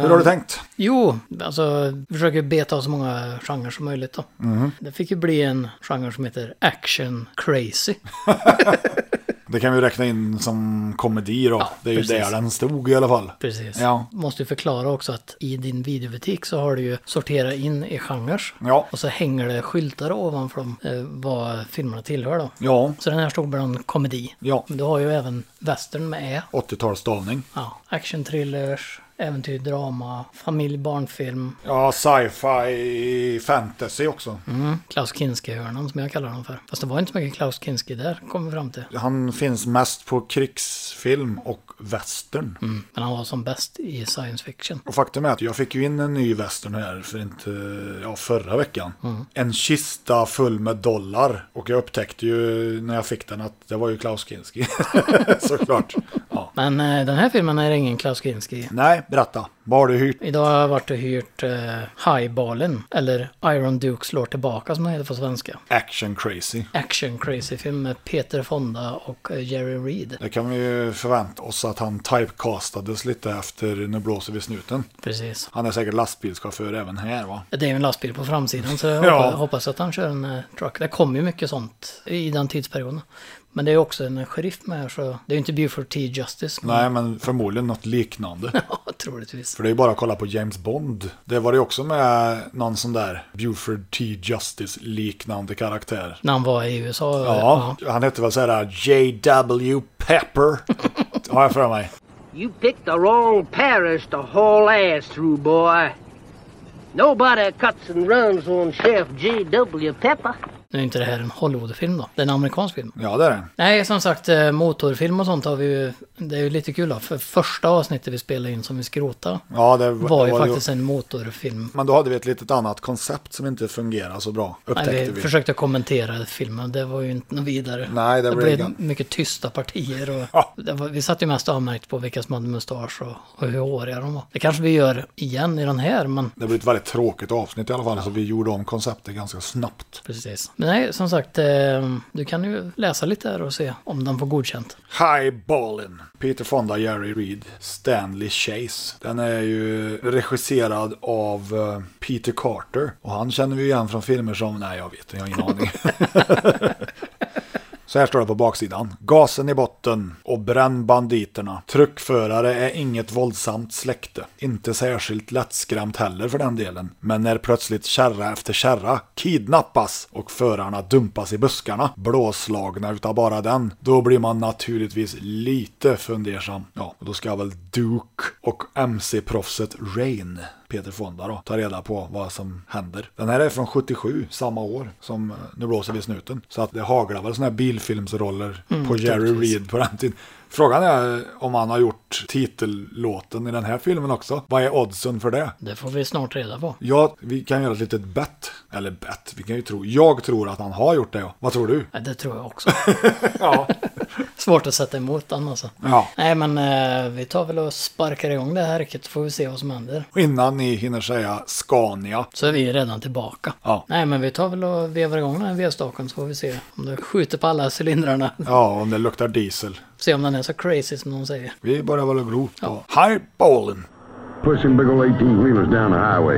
S2: Hur har du tänkt?
S3: Jo, alltså vi försöker beta av så många genrer som möjligt då.
S2: Mm.
S3: Det fick ju bli en genre som heter action crazy.
S2: Det kan vi räkna in som komedi då.
S3: Ja,
S2: det är ju
S3: precis.
S2: där den stod i alla fall.
S3: Precis.
S2: Ja.
S3: Måste ju förklara också att i din videobutik så har du ju sorterat in i genrer.
S2: Ja.
S3: Och så hänger det skyltar ovanför dem eh, vad filmerna tillhör då.
S2: Ja,
S3: Så den här stod bland komedi.
S2: Ja.
S3: Men Du har ju även western med E.
S2: 80-talsstavning.
S3: Ja. Action thrillers, äventyr, drama, familj, barnfilm.
S2: Ja, sci-fi, fantasy också.
S3: Klaus Kinski-hörnan som jag kallar dem för. Fast det var inte så mycket Klaus Kinski där, kom vi fram till.
S2: Han finns mest på krigsfilm och western.
S3: Men han var som bäst i science fiction.
S2: Och faktum är att jag fick ju in en ny western här för inte, ja, förra veckan. En kista full med dollar. Och jag upptäckte ju när jag fick den att det var ju Klaus Kinski. Såklart. Ja.
S3: Men eh, den här filmen är ingen Klaus Kinski.
S2: Nej, berätta. Vad har du hyrt?
S3: Idag har jag varit och hyrt eh, Highballen, eller Iron Duke slår tillbaka som den heter på svenska.
S2: Action crazy.
S3: Action crazy film med Peter Fonda och eh, Jerry Reed.
S2: Det kan vi ju förvänta oss att han typecastades lite efter Nu blåser vi snuten.
S3: Precis.
S2: Han är säkert lastbilschaufför även här va?
S3: Det är ju en lastbil på framsidan så jag
S2: Ja.
S3: hoppas, hoppas att han kör en eh, truck. Det kommer ju mycket sånt i den tidsperioden. Men det är också en sheriff med här så det är ju inte Buford T. Justice. Men
S2: Nej, men förmodligen något liknande.
S3: Ja, troligtvis.
S2: För det är bara att kolla på James Bond. Det var det också med någon sån där Buford T. Justice-liknande karaktär.
S3: När han var i USA.
S2: Ja, han hette väl såhär J.W. Pepper. Har jag för mig.
S8: You picked the wrong parish to haul ass through, boy. Nobody cuts and runs on Chef J.W. Pepper.
S3: Nu är inte det här en Hollywoodfilm då. Det är en amerikansk film.
S2: Ja, det är det.
S3: Nej, som sagt, eh, motorfilm och sånt har vi ju... Det är ju lite kul då. För första avsnittet vi spelade in som vi skrotade
S2: Ja, det
S3: var ju
S2: det-
S3: faktiskt en motorfilm.
S2: Men då hade vi ett litet annat koncept som inte fungerade så bra. Upptäckte
S3: Nej, vi
S2: vi.
S3: försökte kommentera filmen, det var ju inte något vidare.
S2: Nej, det
S3: det
S2: blev
S3: blev
S2: gan-
S3: mycket tysta partier och
S2: Ja.
S3: det var, vi satt ju mest avmärkt på vilka som hade mustasch och, och hur håriga de var. Det kanske vi gör igen i den här, men
S2: Det blev ett väldigt tråkigt avsnitt i alla fall, så vi gjorde om konceptet ganska snabbt.
S3: precis. Men nej, som sagt, eh, du kan ju läsa lite här och se om den får godkänt.
S2: Highballen. Peter Fonda, Jerry Reed, Stanley Chase. Den är ju regisserad av eh, Peter Carter. Och han känner vi igen från filmer som, nej jag vet inte, jag har ingen aning. Så här står det på baksidan. Gasen i botten och bränn banditerna. Truckförare är inget våldsamt släkte. Inte särskilt lättskrämt heller för den delen. Men när plötsligt kärra efter kärra kidnappas och förarna dumpas i buskarna, blåslagna utav bara den, då blir man naturligtvis lite fundersam. Ja, och då ska väl Duke och MC-proffset Rain, Peter Fonda då, ta reda på vad som händer. Den här är från 77, samma år som eh, Nu blåser vi snuten. Så att det haglar väl sådana här bilfilmsroller på Jerry Reed på den tiden. Frågan är eh, om han har gjort titellåten i den här filmen också. Vad är oddsen för det?
S3: Det får vi snart reda på.
S2: Ja, vi kan göra ett litet bett. Eller bett, vi kan ju tro. Jag tror att han har gjort det. ja. Vad tror du?
S3: Ja, det tror jag också.
S2: Ja.
S3: Svårt att sätta emot den alltså.
S2: ja.
S3: Nej, men eh, vi tar väl och sparkar igång det här riket så får vi se vad som händer.
S2: Och innan ni hinner säga Scania.
S3: Så är vi redan tillbaka.
S2: Ja.
S3: Nej, men vi tar väl och vevar igång den här vevstaken så får vi se om det skjuter på alla cylindrarna.
S2: Ja, om det luktar diesel.
S3: Se om den är så crazy som de säger.
S2: Vi börjar väl att glo på highballen.
S9: pushing big old 18 wheelers down the highway.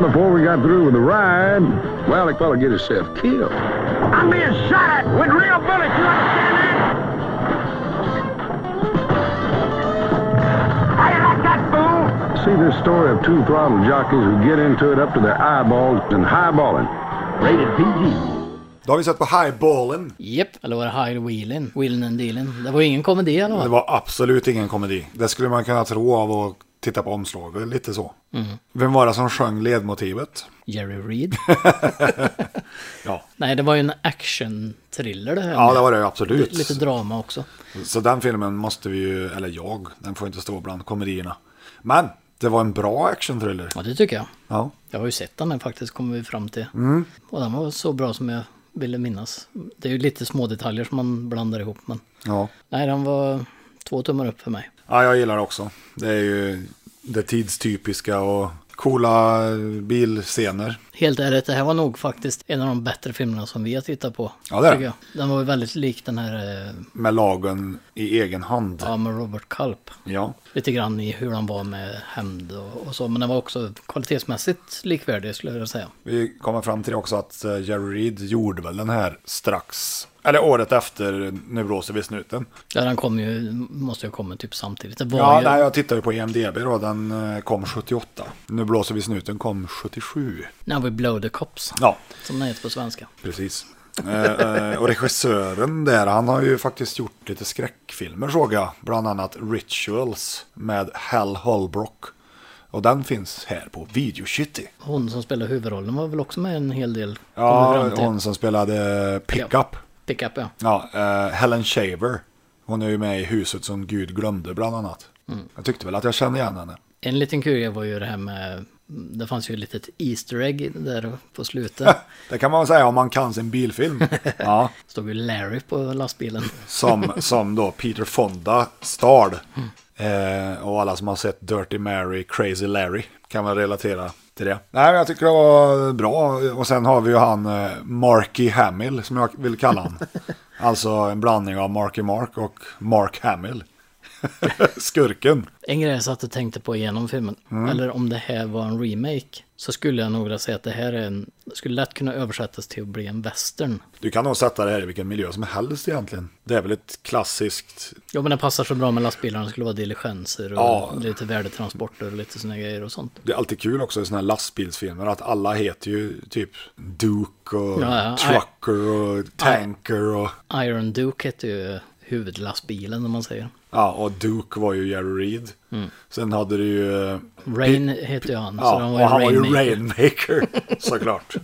S9: Before we got through with the ride, well, the fella get himself killed. I'm being shot at with real bullets, you understand that? See this story of two throttle jockeys who get into it up to their eyeballs and highballing. Rated PG.
S2: Då har vi sett på highballen.
S3: Jep, eller var det High Wheelin? Wheelin and Dealin. Det var ingen komedi i alla
S2: Det
S3: fall.
S2: var absolut ingen komedi. Det skulle man kunna tro av att titta på omslaget, lite så. Vem var det som sjöng ledmotivet?
S3: Jerry Reed.
S2: Ja,
S3: Nej, det var ju en action-thriller det här.
S2: ja
S3: med.
S2: det var det ju absolut.
S3: Lite drama också.
S2: Så den filmen måste vi ju, eller jag, den får inte stå bland komedierna. Men det var en bra actionthriller.
S3: Ja, det tycker jag.
S2: Ja.
S3: Jag har ju sett den här faktiskt, kommer vi fram till.
S2: Mm.
S3: Och den var så bra som jag ville minnas. Det är ju lite små detaljer som man blandar ihop, men...
S2: ja.
S3: Nej, den var två tummar upp för mig.
S2: Ja, jag gillar det också. Det är ju det tidstypiska och coola bilscener.
S3: Helt ärligt, det här var nog faktiskt en av de bättre filmerna som vi har tittat på.
S2: Ja, det är
S3: tycker jag. Den var ju väldigt lik den här eh,
S2: Med lagen i egen hand.
S3: ja, med Robert Culp.
S2: Ja.
S3: Lite grann i hur han var med hämnd och, och så. Men den var också kvalitetsmässigt likvärdig skulle jag säga.
S2: Vi kommer fram till också att eh, Jerry Reed gjorde väl den här strax. Eller året efter Nu blåser vi snuten.
S3: Ja, den kom ju, måste ju komma typ samtidigt. Det var
S2: Ja,
S3: ju,
S2: nej, jag tittar ju på E IMDB då. Den eh, kom 78. Nu blåser vi snuten kom 77.
S3: Now we blow the cops,
S2: Ja,
S3: som den heter på svenska.
S2: precis. Eh, eh, och regissören där, han har ju faktiskt gjort lite skräckfilmer såg jag. Bland annat Rituals med Hal Holbrook. Och den finns här på Video City.
S3: Hon som spelar huvudrollen var väl också med en hel del. kommer
S2: Ja,
S3: fram till.
S2: hon som spelade Pickup.
S3: Pickup, ja.
S2: Ja, eh, Helen Shaver. Hon är ju med i Huset som Gud glömde bland annat. Jag tyckte väl att jag kände igen henne.
S3: En liten kurie var ju det här med, det fanns ju ett litet Easter egg där på slutet.
S2: Det kan man väl säga om man kan sin bilfilm. Ja,
S3: Stod ju Larry på lastbilen.
S2: som, som då Peter Fonda stal. Eh, och alla som har sett Dirty Mary, Crazy Larry kan väl relatera till det. Nej, men jag tycker det var bra. Och sen har vi ju han eh, Marky Hamill som jag vill kalla han. Alltså en blandning av Marky Mark och Mark Hamill. Skurken.
S3: En grej jag satt och tänkte på igenom filmen,
S2: Mm.
S3: eller om det här var en remake, så skulle jag nog vilja säga att det här är en, skulle lätt kunna översättas till att bli en western.
S2: Du kan nog sätta det här i vilken miljö som helst egentligen. Det är väl ett klassiskt...
S3: Ja men den passar så bra med lastbilarna, det skulle vara diligenser och
S2: Ja.
S3: lite värdetransporter och lite sådana grejer och sånt.
S2: Det är alltid kul också i sådana här lastbilsfilmer att alla heter ju typ Duke och
S3: Ja, ja.
S2: Trucker och Tanker och...
S3: Iron Duke heter ju huvudlastbilen om man säger.
S2: Ja, och Duke var ju Jerry Reed. Sen hade du ju...
S3: Mm.
S2: eh,
S3: Rain heter ju han, så
S2: Ja,
S3: han
S2: och
S3: var ju
S2: han var ju
S3: Rainmaker.
S2: Rainmaker såklart.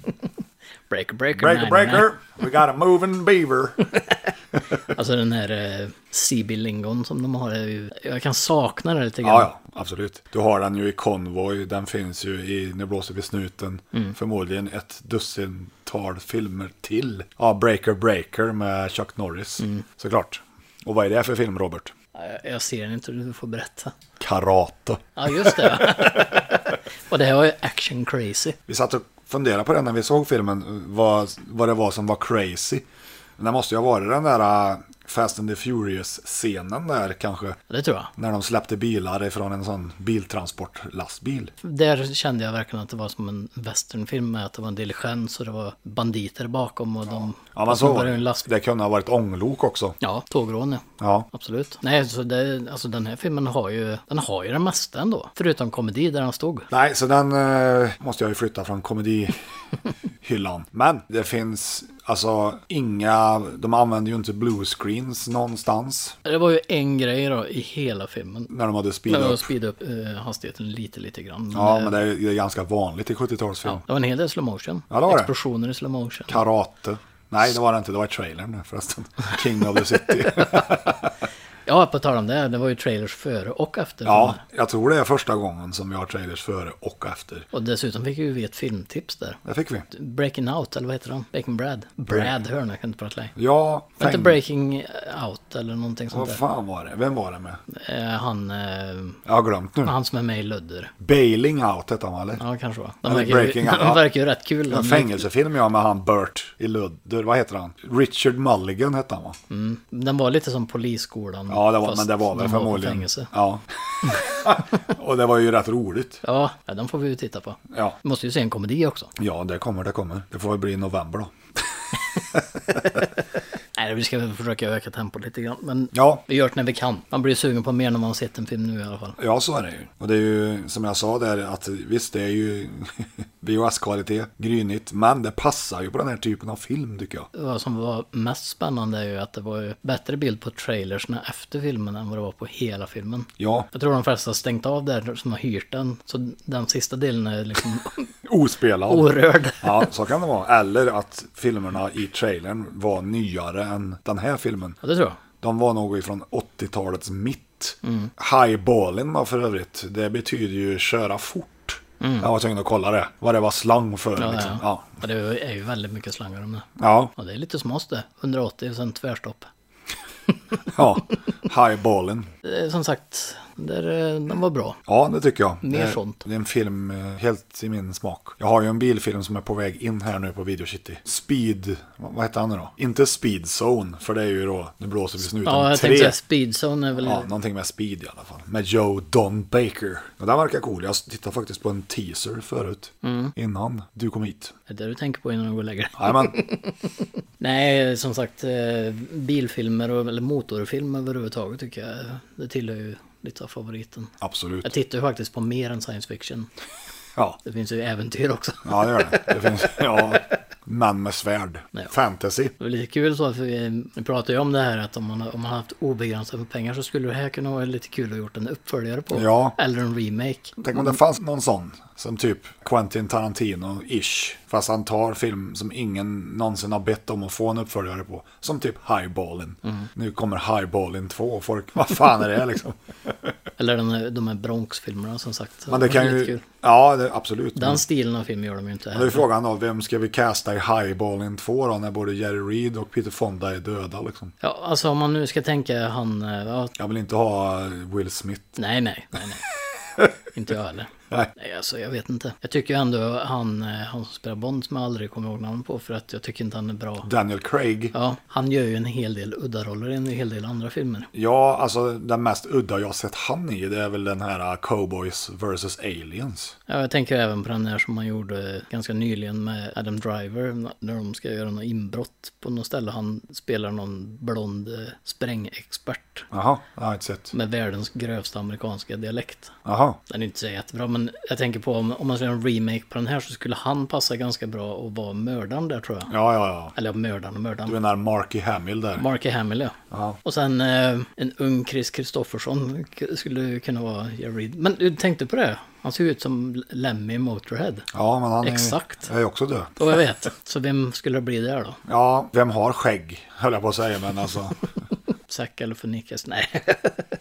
S3: Breaker, breaker,
S2: breaker,
S3: man,
S2: breaker! We got a moving beaver!
S3: man. Alltså den här eh, CB Lingon som de har är ju, jag kan sakna det lite grann.
S2: Ja, ja, absolut. Du har den ju i Convoy, den finns ju i Nu blåser vi snuten. Förmodligen ett dussintal filmer till. Ja, Breaker Breaker med Chuck Norris, såklart. Och vad är det för film, Robert?
S3: Jag- Jag ser den inte, du får berätta.
S2: Karate.
S3: Ja, just det. och det här var ju action crazy.
S2: Vi satt och funderade på det när vi såg filmen, vad, vad det var som var crazy. Men det måste ju ha varit den där äh, Fast and the Furious-scenen där kanske.
S3: Det tror jag.
S2: När de släppte bilar ifrån en sån biltransportlastbil.
S3: Där kände jag verkligen att det var som en westernfilm med att det var en diligens och det var banditer bakom och de...
S2: Ja, men så var
S3: en
S2: det.
S3: lastbil.
S2: Det kunde ha varit ånglok också.
S3: Ja, tågrån ja.
S2: Ja,
S3: Absolut. Nej, så det, alltså den här filmen har ju, den har ju det mesta ändå. Förutom komedi där han stod.
S2: Nej, så den eh, måste jag ju flytta från komedihyllan. Men det finns alltså inga, de använder ju inte bluescreens någonstans
S3: Det var ju en grej då i hela filmen.
S2: när de hade speed
S3: Jag
S2: up.
S3: speedade upp eh, hastigheten lite, lite grann. Men,
S2: Ja,
S3: eh,
S2: men det är, det är ganska vanligt i 70-talsfilm.
S3: ja, det var en hel del slow motion.
S2: Ja, det var det.
S3: Explosioner i slow motion.
S2: Karate. Nej, det var det inte. Det var i trailern förresten. King of the City.
S3: Ja, på tal om det, det var ju trailers före och efter.
S2: Ja, jag tror det är första gången som jag har trailers före och efter.
S3: Och dessutom fick ju vi ett filmtips där.
S2: Det fick vi.
S3: Breaking Out, eller vad heter den? Breaking Brad. Brad, hör nu, jag kan inte prata längre.
S2: Ja,
S3: Var inte
S2: tänk-
S3: Breaking Out eller någonting sånt
S2: Vad
S3: där?
S2: fan var det? Vem var det med?
S3: Eh, han, eh,
S2: Jag har glömt nu.
S3: han som är med i Ludder.
S2: Bailing Out hette han va, eller?
S3: Ja, kanske var. De
S2: Eller
S3: verkar, ju,
S2: Breaking Out, ja.
S3: de verkar ju rätt kul.
S2: En
S3: de-
S2: fängelsefilm jag med han Bert i Ludder, vad heter han? Richard Mulligan hette han va?
S3: Den var lite som Polisskolan.
S2: Ja, det var,
S3: Mm. fast
S2: men det var väl
S3: de på
S2: förmodligen.
S3: fängelse.
S2: ja. och det var ju rätt roligt.
S3: Ja, ja, den får vi ju titta på.
S2: Ja.
S3: Vi måste ju se en komedi också.
S2: ja, det kommer, det kommer. Det får väl bli i november då.
S3: Nej, vi ska väl försöka öka tempot lite grann. Men
S2: Ja,
S3: vi gör det när vi kan. Man blir sugen på mer när man har sett en film nu i alla fall.
S2: ja så är det ju. Och det är ju som jag sa där att visst, det är ju VHS-kvalitet, grynigt, men det passar ju på den här typen av film tycker jag.
S3: Vad som var mest spännande är ju att det var ju bättre bild på trailersna efter filmen än vad det var på hela filmen.
S2: Ja,
S3: Jag tror de flesta har stängt av där som har hyrt den. Så den sista delen är liksom
S2: ospelad.
S3: orörd.
S2: Ja, så kan det vara. Eller att filmerna i trailern var nyare än den här filmen.
S3: Ja, det tror jag.
S2: De var nog ifrån 80-talets mitt. Highballing då för övrigt, det betyder ju köra fort. Jag var tvungen att kolla det, vad det var slang för. Ja,
S3: Mm. Ja,
S2: liksom.
S3: ja.
S2: ja.
S3: ja, det är ju väldigt mycket slangar om det.
S2: ja,
S3: Ja, det är lite smås det. 180 och sen tvärstopp.
S2: ja. highballing.
S3: Eh, Som sagt, där, eh, den var bra.
S2: Ja, det tycker jag.
S3: Mer
S2: det,
S3: sånt.
S2: Det är en film eh, helt i min smak. Jag har ju en bilfilm som är på väg in här nu på Video City. Speed, vad vad heter han nu då? Inte Speed Zone, för det är ju då, nu blåser vi snuten.
S3: Ja, jag
S2: tre.
S3: tänkte säga speedzone är väl...
S2: Ja, någonting med speed i alla fall. Med Joe Don Baker. Och den verkar cool. Jag tittade faktiskt på en teaser förut.
S3: Mm.
S2: Innan du kom hit.
S3: Är det det du tänker på innan du går och lägger dig?
S2: Jajamän.
S3: Nej, som sagt, eh, bilfilmer och, eller motorfilmer överhuvudtaget tycker jag. eh, Det tillhör ju lite av favoriten. Jag
S2: Absolut.
S3: tittar ju faktiskt på mer än science fiction.
S2: Ja.
S3: Det finns ju äventyr också.
S2: ja, det gör det. Det finns, ja. Män med svärd.
S3: Ja.
S2: Fantasy.
S3: Det var lite kul så, för vi vi pratade ju om det här att om man, om man haft obegränsat med pengar så skulle det här kunna vara lite kul att gjort en uppföljare på.
S2: Ja.
S3: Eller en remake.
S2: Tänk om det fanns någon sån. Som typ Quentin Tarantino-ish. Fast han tar film som ingen någonsin har bett om att få en uppföljare på. Som typ Highballen.
S3: Mm.
S2: Nu kommer Highballen 2 och folk, vad fan är det här, liksom?
S3: Eller den, här- de här Bronx-filmerna som sagt.
S2: Men det kan
S3: lite
S2: ju...
S3: kul.
S2: Ja, det, absolut.
S3: Den stilen av film gör de ju inte
S2: Men då är
S3: här.
S2: frågan då, vem ska vi casta i Highballing 2 då när både Jerry Reed och Peter Fonda är döda liksom?
S3: Ja, alltså om man nu ska tänka han... eh, Ja,
S2: Jag vill inte ha eh, Will Smith.
S3: nej, nej, nej, nej. inte jag heller.
S2: Nej.
S3: Nej, alltså jag vet inte. Jag tycker ju ändå han, eh, han som spelar Bond som jag aldrig kommer ihåg namnet på för att jag tycker inte han är bra.
S2: Daniel Craig. Ja.
S3: Ja, han gör ju en hel del udda roller i en hel del andra filmer.
S2: alltså den mest udda jag har sett han i det är väl den här eh, Cowboys vs Aliens.
S3: Ja, jag tänker även på den här som man gjorde ganska nyligen med Adam Driver när de ska göra något inbrott på något ställe. Han spelar någon blond eh, sprängexpert
S2: Jaha, jag har inte sett.
S3: med världens grövsta amerikanska dialekt.
S2: Jaha,
S3: Den är inte så jättebra, men jag tänker på om, om man skulle göra en remake på den här så skulle han passa ganska bra och vara mördaren där tror jag.
S2: ja ja ja.
S3: Eller mördaren och mördaren.
S2: Du menar Marky Hamill där?
S3: Marky Hamill, ja. Och sen eh, en ung Chris Kristoffersson k- skulle ju kunna vara Jerry Reed. Men du tänkte på det? Han ser ju ut som Lemmy i Motorhead.
S2: ja, men han är,
S3: Exakt.
S2: är ju också död.
S3: Och jag vet. Så vem skulle det bli där då?
S2: Ja, vem har skägg? Höll jag på att säga, men alltså.
S3: Zack eller Funikes? Nej.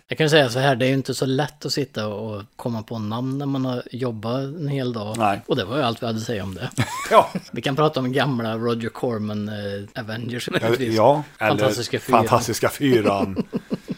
S3: Jag kan ju säga så här, det är ju inte så lätt att sitta och komma på namn när man har jobbat en hel dag.
S2: Nej.
S3: Och det var ju allt vi hade att säga om det.
S2: Ja,
S3: Vi kan prata om gamla Roger Corman eh, Avengers.
S2: Ja, eller
S3: Fantastiska
S2: Fantastiska
S3: fyran.
S2: fyran.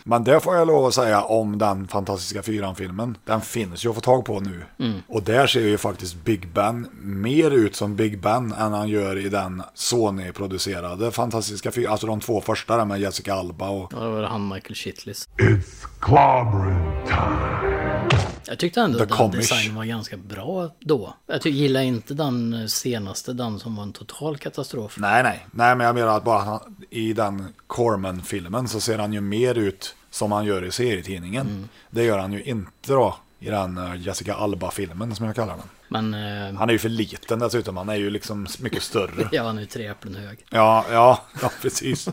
S2: Men det får jag lov att säga om den Fantastiska fyran-filmen. Den finns ju att få tag på nu. Och där ser ju faktiskt Big Ben mer ut som Big Ben än han gör i den Sony-producerade Fantastiska fyran. Alltså de två första där med Jessica Alba och...
S3: Och det var han Michael Chitlis.
S9: It's clobbering time.
S3: Jag tyckte ändå
S2: The
S3: att den
S2: Comish.
S3: designen var ganska bra då. Jag ty- gillar inte den senaste, den som var en total katastrof.
S2: Nej, nej. Nej, men jag menar att bara han, i den Corman-filmen så ser han ju mer ut som han gör i serietidningen. Det gör han ju inte då i den eh, Jessica Alba-filmen som jag kallar den.
S3: Men eh,
S2: Han är ju för liten dessutom, han är ju liksom mycket större.
S3: ja, han är ju tre äpplen hög.
S2: Ja, ja, ja precis.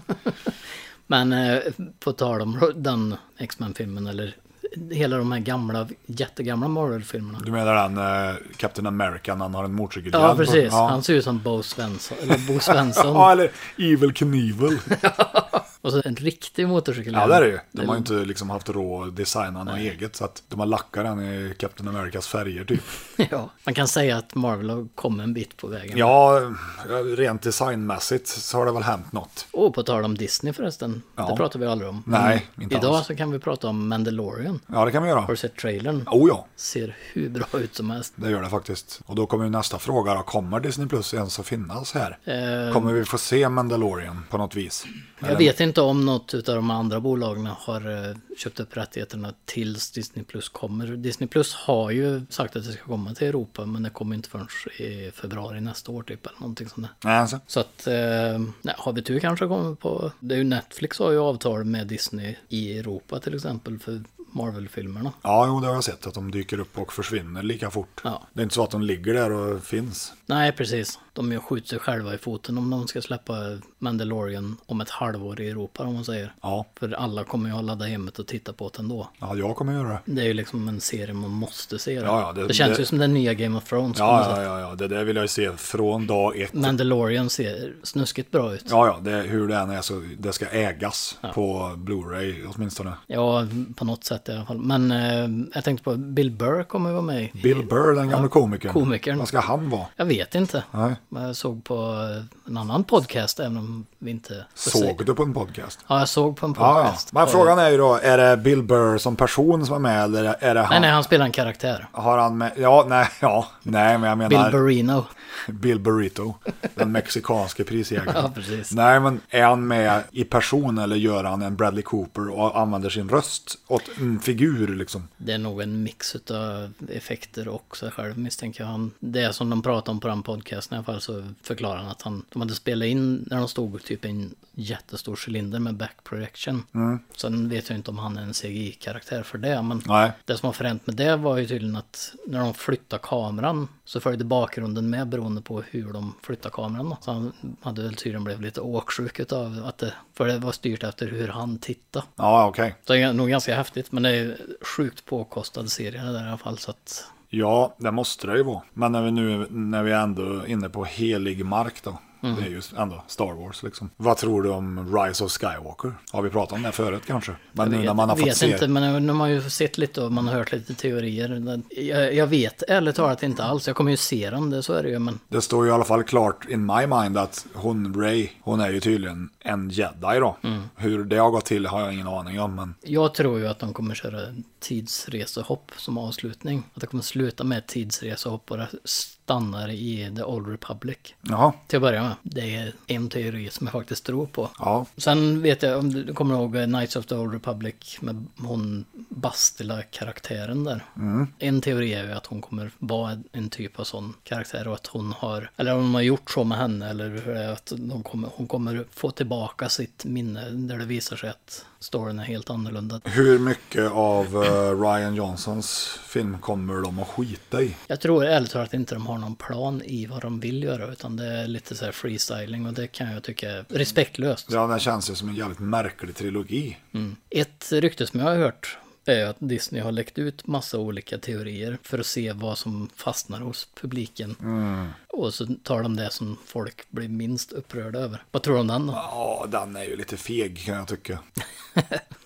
S3: Men eh, på tal om ro- den X-Men-filmen eller hela de här gamla, jättegamla Marvel-filmerna.
S2: Du menar den eh, Captain America när han har en motorcykelhjälm?
S3: Ja,
S2: på-
S3: precis.
S2: Ja.
S3: Han ser ut som Bo Svensson. Eller Bo
S2: ja,
S3: Svensson.
S2: eller Evil Knievel.
S3: Och så en riktig motorcykel.
S2: Ja, det är det ju. De
S3: Mm.
S2: har ju inte liksom haft råd att designa något eget, så att de har lackat den i Captain Americas färger typ.
S3: Ja, man kan säga att Marvel har kommit en bit på vägen.
S2: Ja, rent designmässigt så har det väl hänt något.
S3: Och på tal om Disney förresten.
S2: Ja.
S3: Det pratar vi aldrig om.
S2: Nej,
S3: Men
S2: inte
S3: Idag
S2: alls.
S3: så kan vi prata om Mandalorian.
S2: Ja, det kan vi göra.
S3: Har du sett trailern?
S2: Oh ja,
S3: Ser hur bra ut som helst.
S2: det gör det faktiskt. Och då kommer ju nästa fråga då, kommer Disney Plus ens att finnas här?
S3: Eh,
S2: Kommer vi få se Mandalorian på något vis?
S3: jag vet inte om något av de andra bolagen har eh, köpt upp rättigheterna tills Disney Plus kommer. Disney Plus har ju sagt att det ska komma till Europa men det kommer inte förrän i februari nästa år typ eller någonting sånt där.
S2: Nej, alltså.
S3: Så att, eh, nej, har vi tur kanske kommer på... Det är ju Netflix har ju avtal med Disney i Europa till exempel för Marvel-filmerna.
S2: Ja, jo, det har jag sett. Att de dyker upp och försvinner lika fort.
S3: Ja.
S2: Det är inte så att de ligger där och finns.
S3: Nej, precis. De ju skjuter sig själva i foten om de ska släppa Mandalorian om ett halvår i Europa, om man säger.
S2: Ja,
S3: För alla kommer ju att ladda hemmet och titta på det ändå.
S2: ja jag kommer göra det.
S3: Det är ju liksom en serie man måste se. då.
S2: Ja, ja, det-
S3: det känns
S2: det-
S3: ju som den nya Game of Thrones. på något
S2: Ja,
S3: sätt.
S2: ja, ja, ja. Det där vill jag ju se från dag ett.
S3: Mandalorian ser snuskigt bra ut. Ja.
S2: Ja, ja, det, hur det än är så det ska ägas på Blu-ray åtminstone.
S3: på något sätt i alla fall. Men eh, jag tänkte på Bill Burr kommer ju vara med. i-
S2: Bill Burr, den gamle komikern.
S3: komikern.
S2: Vad ska han vara?
S3: Jag vet inte.
S2: Nej.
S3: Men Jag såg på eh, en annan podcast, även om vi inte... får se.
S2: Såg du på en podcast?
S3: Ja, jag såg på en
S2: Ja, ja.
S3: podcast.
S2: Men frågan är ju då, är det Bill Burr som person som är med eller är det han?
S3: Nej, nej, han spelar en karaktär.
S2: Har han med? Ja, nej, ja. Nej, men jag
S3: Bill
S2: menar Bill,
S3: Burrino.
S2: Burrito. Den mexikanske prisjägaren.
S3: Ja, precis.
S2: Nej, men är han med i person eller gör han en Bradley Cooper och använder sin röst åt en figur liksom?
S3: Det är nog en mix utav effekter och sig själv misstänker jag. Han, det som de pratade om på den podcasten i alla fall så förklarar han att han, de hade spelat in när de stod typ i en jättestor cylinder med back projection.
S2: Mm.
S3: Sen vet jag inte om han är en CGI-karaktär för det, men
S2: Nej.
S3: det som var fränt med det var ju tydligen att när de flyttade kameran så följde bakgrunden med beroende på hur de flyttade kameran. då. Så han hade väl tydligen blivit lite åksjuk utav att det, för det var styrt efter hur han tittade.
S2: Ja, okej.
S3: Så Det är nog ganska häftigt, men det är sjukt påkostad serie det där i alla fall. Så att,
S2: Ja, det måste det ju vara. Men när vi nu när vi ändå är inne på helig mark då.
S3: Mm.
S2: Det är ju ändå Star Wars liksom. Vad tror du om Rise of Skywalker? Har vi pratat om det förut kanske? Men nu när man har
S3: vet
S2: fått se.
S3: inte, men nu har man ju sett lite och man har hört lite teorier. Jag, jag vet ärligt talat inte alls. Jag kommer ju se den, det, så är det ju. Men
S2: Det står ju i alla fall klart in my mind att hon Ray, hon är ju tydligen en jedi då. Hur det har gått till har jag ingen aning om. Men
S3: jag tror ju att de kommer köra en tidsresehopp som avslutning. Att det kommer sluta med ett tidsresehopp och det stannar i The Old Republic.
S2: jaha,
S3: Till att börja med. Det är en teori som jag faktiskt tror på.
S2: ja.
S3: Sen vet jag, om du kommer ihåg eh, Knights of the Old Republic med hon Bastila-karaktären där. En teori är ju att hon kommer vara en- en typ av sån karaktär och att hon har, eller om de har gjort så med henne eller hur det är, att de kommer, hon kommer få tillbaka sitt minne där det visar sig att storyn är helt annorlunda.
S2: Hur mycket av eh, Ryan Johnsons film kommer de att skita i?
S3: Jag tror ärligt talat inte de har någon plan i vad de vill göra utan det är lite så här freestyling och det kan jag tycka är respektlöst.
S2: Ja, den känns ju som en jävligt märklig trilogi.
S3: Ett rykte som jag har hört är att Disney har läckt ut massa olika teorier för att se vad som fastnar hos publiken.
S2: Mm.
S3: Och så tar de det som folk blir minst upprörda över. Vad tror du om den då?
S2: Ja, den är ju lite feg kan jag tycka.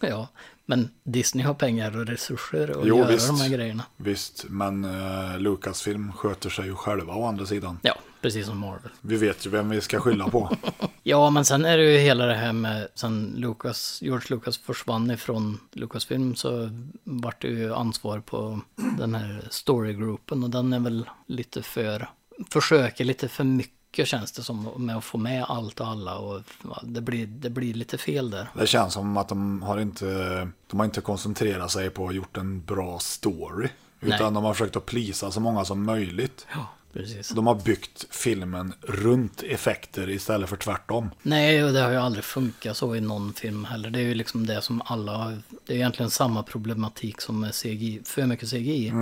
S3: Ja, men Disney har pengar och resurser att
S2: Jo,
S3: göra
S2: visst.
S3: de här grejerna.
S2: Visst, men eh, Lucasfilm sköter sig ju själva å andra sidan.
S3: Ja, precis som Marvel.
S2: Vi vet ju vem vi ska skylla på.
S3: Ja, men sen är det ju hela det här med sen Lucas, George Lucas försvann ifrån Lucasfilm så vart det ju ansvar på den här storygruppen och den är väl lite för, försöker lite för mycket känns det som med att få med allt och alla och ja, det blir, det blir lite fel där.
S2: Det känns som att de har inte, de har inte koncentrerat sig på att gjort en bra story. Utan
S3: Nej.
S2: de har försökt att plisa så många som möjligt.
S3: Ja, precis.
S2: De har byggt filmen runt effekter istället för tvärtom.
S3: Nej, och det har ju aldrig funkat så i någon film heller. Det är ju liksom det som alla har. Det är egentligen samma problematik som med CGI, för mycket CGI.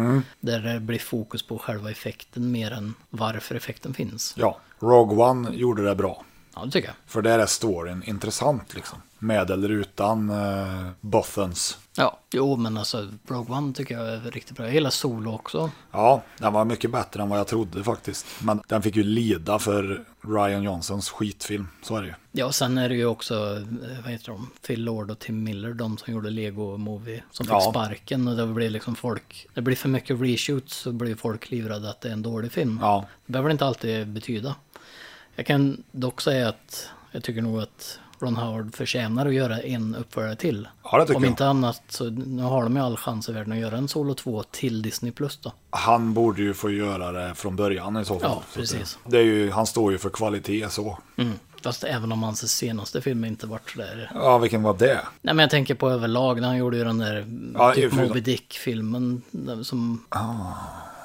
S3: Där det blir fokus på själva effekten mer än varför effekten finns.
S2: Ja, Rogue One gjorde det bra.
S3: Ja, det tycker jag.
S2: För där är storyn intressant liksom. Med eller utan eh, Bothans.
S3: Ja, jo men alltså Rogue One tycker jag är riktigt bra. Jag gillar Solo också.
S2: Ja, den var mycket bättre än vad jag trodde faktiskt. Men den fick ju lida för Ryan Johnsons skitfilm. Så är det ju.
S3: Ja, och sen är det ju också, eh, vad heter de, Phil Lord och Tim Miller, de som gjorde Lego Movie, som fick
S2: Ja.
S3: sparken och det blir liksom folk, det blir för mycket reshoots så blir folk livrädda att det är en dålig film.
S2: Ja,
S3: Det behöver det inte alltid betyda. Jag kan dock säga att jag tycker nog att Ron Howard förtjänar att göra en uppföljare till.
S2: Ja, det tycker
S3: Om
S2: jag.
S3: inte annat så nu har de ju all chans i världen att göra en Solo 2 till Disney Plus då.
S2: han borde ju få göra det från början i så fall.
S3: Ja,
S2: Så att
S3: precis.
S2: Det, det är ju, han står ju för kvalitet så.
S3: Fast även om hans senaste film inte varit sådär.
S2: Ja, vilken var det?
S3: Nej men jag tänker på överlag när han gjorde ju den där
S2: Ja,
S3: typ
S2: förutom-
S3: Moby
S2: Ah.
S3: Dick-filmen den som...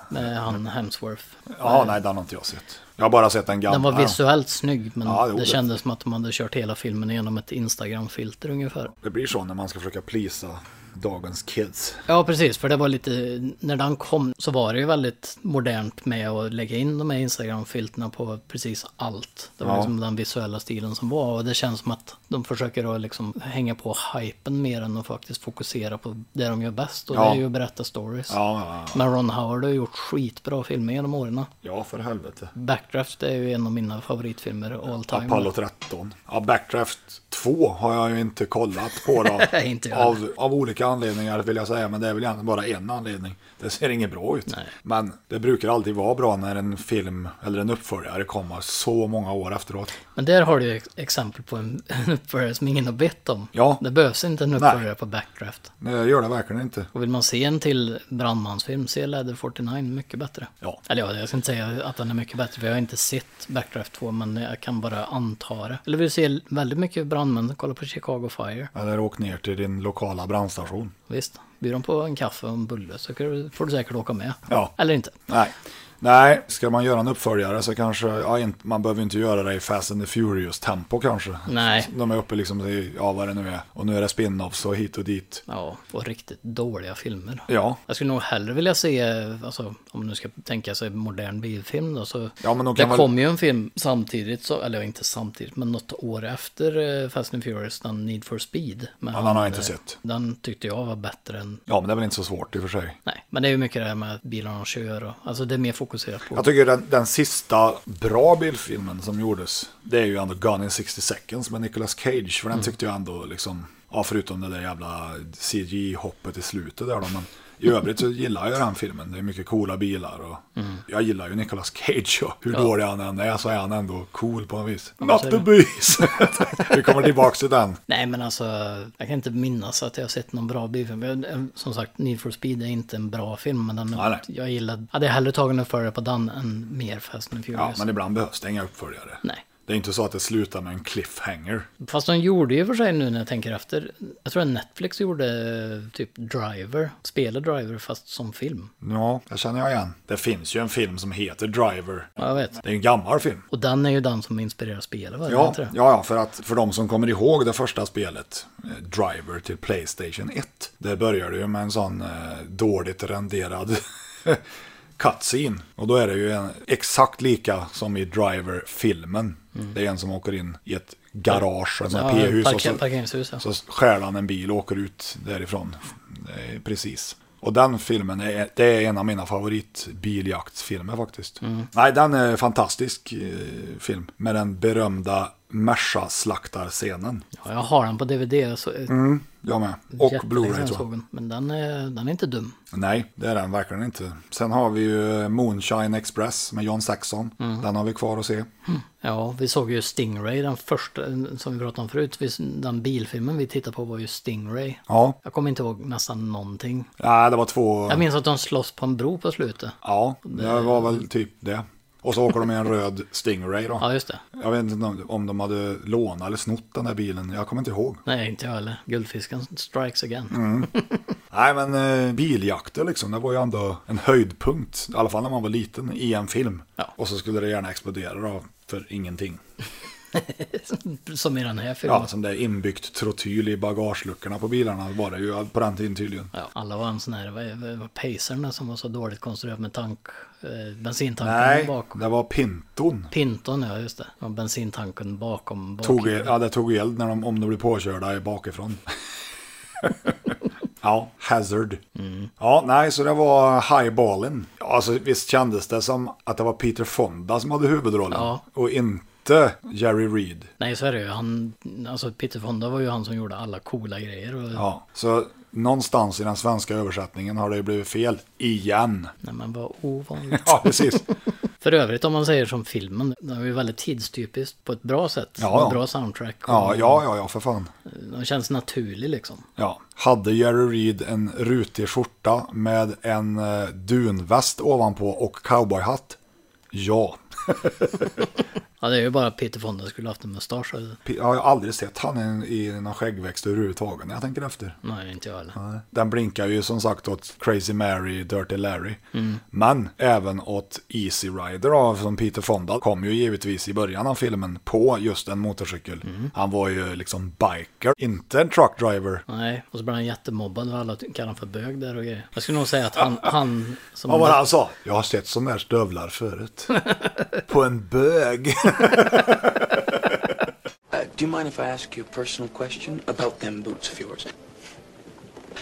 S3: Med han Hemsworth.
S2: Ja, nej, den har inte jag sett. Jag har bara sett den gamla.
S3: Den var visuellt snygg, men
S2: Ja, jo,
S3: det
S2: det-
S3: kändes som att de hade kört hela filmen genom ett Instagram-filter ungefär.
S2: Det blir så när man ska försöka plisa dagens kids.
S3: Ja, precis, för det var lite, när den kom så var det ju väldigt modernt med att lägga in de här Instagram-filterna på precis allt. Det var
S2: Ja.
S3: liksom den visuella stilen som var och det känns som att de försöker att liksom hänga på hypen mer än att faktiskt fokusera på det de gör bäst och
S2: Ja.
S3: det är ju att berätta stories.
S2: Ja, ja, ja.
S3: Men Ron Howard har gjort skitbra filmer genom åren.
S2: ja för helvete.
S3: Backdraft är ju en av mina favoritfilmer all time.
S2: Apollo 13. Ja, Backdraft 2 har jag ju inte kollat på då.
S3: Nej, inte jag.
S2: av, av olika anledningar vill jag säga, men det är väl egentligen bara en anledning. Det ser inget bra ut. Men det brukar alltid vara bra när en film eller en uppföljare kommer så många år efteråt.
S3: Men där har du ju ex- exempel på en en uppföljare som ingen har bett om.
S2: Ja.
S3: Det behövs inte en uppföljare på Backdraft.
S2: Nej, jag gör det verkligen inte.
S3: Och vill man se en till brandmansfilm, se Leather 49, mycket bättre.
S2: Ja.
S3: Eller ja, jag ska inte säga att den är mycket bättre, för jag har inte sett Backdraft 2, men jag kan bara anta det. Eller vill du se väldigt mycket brandmän, kolla på Chicago Fire.
S2: Eller åk ner till din lokala brandstation.
S3: Visst, bjuder de på en kaffe och en bulle så kan du- får du säkert åka med.
S2: Ja.
S3: Eller inte.
S2: Nej. Nej, ska man göra en uppföljare så kanske, ja, inte, man behöver inte göra det i Fast and the Furious-tempo kanske.
S3: Nej.
S2: De är uppe liksom i, ja vad det nu är, och nu är det spin-offs och hit och dit.
S3: Ja, och riktigt dåliga filmer.
S2: Ja,
S3: Jag skulle nog hellre vilja se, alltså, om man nu ska tänka sig modern biofilm då, så
S2: Ja, men de
S3: det
S2: kan väl-
S3: kom ju en film samtidigt, så, eller inte samtidigt, men något år efter eh, Fast and Furious, den Need for Speed. Men
S2: den har jag inte sett.
S3: Den tyckte jag var bättre än,
S2: ja men det är väl inte så svårt i och för sig.
S3: nej, men det är ju mycket det här med att bilarna kör och, alltså det är mer fokuserat på.
S2: Jag tycker den, den sista bra bildfilmen som gjordes, det är ju ändå Gone in 60 seconds med Nicolas Cage. För den tyckte jag ändå liksom, ja förutom det där jävla CG-hoppet i slutet där då. Men i övrigt så gillar jag den filmen. Det är mycket coola bilar och jag gillar ju Nicolas Cage. Och hur dålig han än är så är han ändå cool på något vis. Not the bees! Vi kommer tillbaka till den.
S3: Nej men alltså, jag kan inte minnas att jag har sett någon bra biofilm. Jag- eh, Som sagt, Need for Speed är inte en bra film, men den,
S2: Nej, nej.
S3: jag gillade, hade jag hellre tagit en uppföljare på den än mer Fast and
S2: Ja,
S3: Furious.
S2: men ibland behövs det inga uppföljare.
S3: Nej.
S2: Det är inte så att det slutar med en cliffhanger.
S3: Fast de gjorde ju för sig nu när jag tänker efter. Jag tror att Netflix gjorde eh, typ Driver, spelar Driver fast som film.
S2: Ja, det känner jag igen. Det finns ju en film som heter Driver.
S3: Ja, jag vet.
S2: Det är en gammal film.
S3: Och den är ju den som inspirerar spelet, vad
S2: Ja,
S3: heter
S2: ja,
S3: det?
S2: ja för, att, för de som kommer ihåg det första spelet, eh, Driver till Playstation 1, där börjar det ju med en sån eh, dåligt renderad cutscene. Och då är det ju en, exakt lika som i Driver-filmen. Det är en som åker in i ett garage, en sån här
S3: Ja,
S2: p-hus, och
S3: parker-
S2: så,
S3: parkeringshus, ja.
S2: så stjäl han en bil och åker ut därifrån. Det är precis. Och den filmen, är, det är en av mina favoritbiljaktsfilmer faktiskt.
S3: Mm.
S2: Nej, den är en fantastisk eh, film. Med den berömda Merca-slaktarscenen.
S3: ja. Jag har den på DVD, så eh,
S2: Jag med. Mm, Och
S3: jättelänge sedan
S2: Blu-ray
S3: jag
S2: tror
S3: såg
S2: jag.
S3: den. Men den är, den är inte dum.
S2: Nej, det är den verkligen inte. Sen har vi ju eh, Moonshine Express med John Saxon.
S3: Mm.
S2: Den har vi kvar att se.
S3: Ja, vi såg ju Stingray, den första eh, som vi pratade om förut. Vi, den bilfilmen vi tittade på var ju Stingray.
S2: Ja,
S3: Jag kommer inte ihåg nästan någonting.
S2: nej, det var två...
S3: Jag minns att de slåss på en bro på slutet.
S2: Ja, det var väl typ det. Och så åker de med en röd Stingray då.
S3: Mm. Ja, just det.
S2: Jag vet inte om- om de hade lånat eller snott den där bilen. Jag kommer inte ihåg.
S3: Nej, inte jag heller. Guldfisken strikes again.
S2: Mm. Nej, men eh, biljakter liksom. Det var ju ändå en höjdpunkt. I alla fall när man var liten i en film.
S3: Ja.
S2: Och så skulle det gärna explodera då, för ingenting.
S3: Som i den här filmen.
S2: Ja, som det är inbyggt trotyl i bagageluckorna på bilarna var det ju på den tiden tydligen.
S3: Ja, alla var en sån här, vad- vad var pacerna som var så dåligt konstruerad med tank, eh, bensintanken
S2: Nej,
S3: bak.
S2: det var Pinton.
S3: Pinton, ja just det. Och bensintanken bakom. bak.
S2: Tog, ja, det tog eld när de, om de blev påkörda bakifrån. ja, Hazard. Ja, nej, så det var highballen. Alltså visst kändes det som att det var Peter Fonda som hade huvudrollen.
S3: Ja.
S2: Och inte Jerry Reed.
S3: Nej, så är det ju. Han, alltså Peter Fonda var ju han som gjorde alla coola grejer. Och,
S2: Ja, så någonstans i den svenska översättningen har det ju blivit fel. Igen.
S3: Nej, men vad ovanligt.
S2: Ja, precis.
S3: För övrigt, om man säger som filmen, den var ju väldigt tidstypiskt på ett bra sätt.
S2: Ja,
S3: Ja,
S2: ja.
S3: bra soundtrack. och
S2: Ja, ja, ja, ja, för fan.
S3: Den känns naturlig liksom.
S2: Ja. Hade Jerry Reed en rutig skjorta med en eh, dunväst ovanpå och cowboyhatt? Ja.
S3: Ja, det är ju bara Peter Fonda skulle haft en mustasch. eller?
S2: P- Jag har aldrig sett han i, i någon skäggväxt överhuvudtaget när jag tänker efter.
S3: Nej, inte jag heller.
S2: Nej. Den blinkar ju som sagt åt Crazy Mary, Dirty Larry. Men även åt Easy Rider av som Peter Fonda kom ju givetvis i början av filmen på just en motorcykel. Han var ju liksom biker, inte en truck driver.
S3: Nej, och så blev han jättemobbad och alla kallade honom för bög där och grejer. Jag skulle nog säga att han, han som...
S2: Vad var det han sa? Jag har sett sådana här stövlar förut. på en bög.
S10: Uh, do you mind if I ask you a personal question about them boots of yours?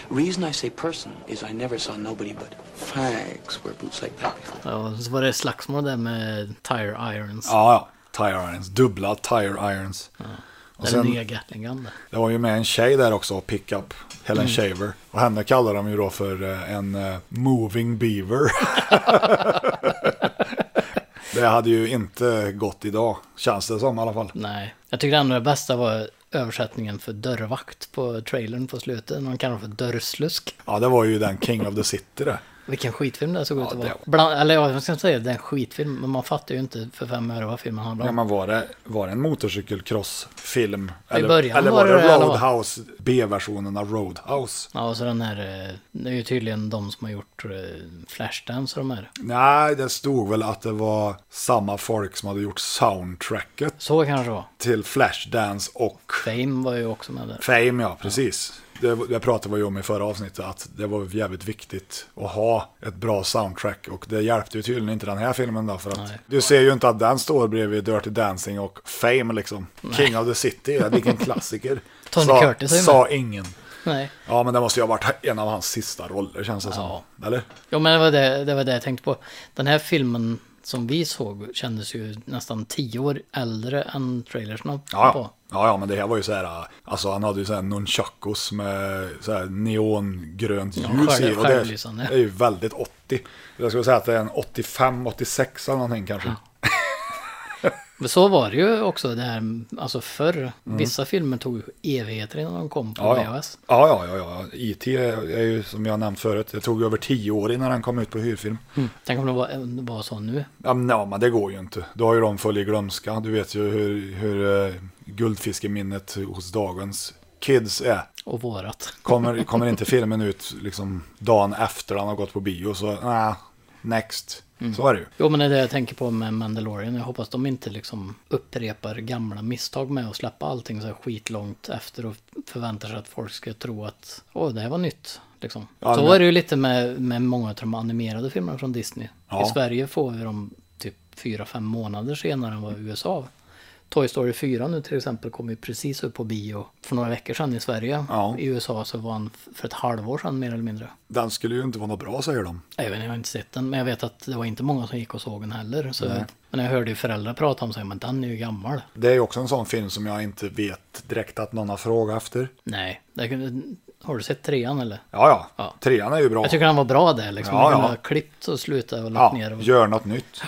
S10: Reason I say personal is I never saw nobody but fags wear boots like that before.
S3: Ja, så var det slagsmål där med Tire Irons.
S2: ja, ja. Tire irons, dubbla tire irons. Och
S3: Den nya Gatling Gun där.
S2: Det var ju med en tjej där också, pickup, Helen
S3: Mm.
S2: Shaver. Och henne kallar de ju då för eh, en eh, moving beaver. det hade ju inte gått idag, känns det som i alla fall.
S3: Nej, jag tyckte ändå det bästa var översättningen för dörrvakt på trailern på slutet. Någon kallar honom för dörrslusk.
S2: Ja, det var ju den King of the City det.
S3: Vilken skitfilm det såg ut att
S2: det
S3: vara.
S2: var-
S3: Bland, eller ja, jag ska inte säga att det är en skitfilm, men man fattar ju inte för fem öre vad filmen handlar
S2: Ja,
S3: om.
S2: men var det, var det en motorcykelcrossfilm? Eller,
S3: början
S2: eller
S3: var
S2: var
S3: det det,
S2: det
S3: eller vad?
S2: Roadhouse, B-versionen av Roadhouse?
S3: Ja, och så den här, eh, det är ju tydligen de som har gjort eh, Flashdance och de här.
S2: Nej, det stod väl att det var samma folk som hade gjort soundtracket
S3: Så kanske det var.
S2: till Flashdance och
S3: Fame var ju också med där.
S2: Fame, ja, precis. Det, det pratade vi om i förra avsnittet, att det var jävligt viktigt att ha ett bra soundtrack. Och det hjälpte ju tydligen inte den här filmen då, för att du ser ju inte att den står bredvid Dirty Dancing och Fame liksom. King of the City, ja, vilken klassiker.
S3: Tony
S2: sa,
S3: Curtis är ju
S2: Sa ingen.
S3: Nej.
S2: Ja, men det måste ju ha varit en av hans sista roller, känns det
S3: Ja.
S2: som. Eller?
S3: Jo, men det var det, det var det jag tänkte på. Den här filmen som vi såg kändes ju nästan tio år äldre än trailersen på.
S2: Ja, ja. Ja, ja, men det här var ju så här, alltså han hade ju så här nunchakos med så här neongrönt ljus
S3: själv-
S2: i. Och det,
S3: självlysande.
S2: det är ju väldigt 80. Jag skulle säga att det är en 85-86 eller någonting kanske.
S3: Men så var det ju också det här, alltså förr. Vissa filmer tog ju evigheter innan de kom på
S2: Mm. Ja, ja.
S3: VHS.
S2: ja, ja, ja, ja. IT är är ju som jag nämnt förut, det tog över 10 år innan den kom ut på hyrfilm.
S3: Tänk om det var, om det var så nu.
S2: Ja, men, ja, men det går ju inte. Då har ju de full i glömska. Du vet ju hur, hur eh, guldfiskeminnet hos dagens kids är.
S3: Och vårat.
S2: Kommer, kommer inte filmen ut liksom dagen efter han har gått på bio så, nej, next.
S3: Mm.
S2: Så är det ju.
S3: Jo men det är det jag tänker på med Mandalorian. Jag hoppas de inte liksom upprepar gamla misstag med att släppa allting så här skitlångt efter och förväntar sig att folk ska tro att åh det här var nytt. Liksom.
S2: Ja,
S3: så
S2: men-
S3: är det ju lite med, med många av de animerade filmerna från Disney.
S2: Ja.
S3: I Sverige får vi dem typ fyra fem månader senare än vad USA. Toy Story 4 nu till exempel kom ju precis upp på bio för några veckor sedan i Sverige.
S2: Ja.
S3: I USA så var han f- för ett halvår sedan mer eller mindre.
S2: Den skulle ju inte vara något bra säger de.
S3: Jag, vet, inte, jag har inte sett den, men jag vet att det var inte många som gick och såg den heller. Så, men jag hörde ju föräldrar prata om sig, men den är ju gammal.
S2: Det är ju också en sån film som jag inte vet direkt att någon har frågat efter.
S3: Nej, det, kunde- har du sett trean eller?
S2: Ja, ja.
S3: Ja.
S2: Trean är ju bra.
S3: Jag tycker den var bra där liksom.
S2: Ja,
S3: Man kunde
S2: ja.
S3: ha klippt och slutat och lagt
S2: ja,
S3: ner. Och...
S2: gör något nytt.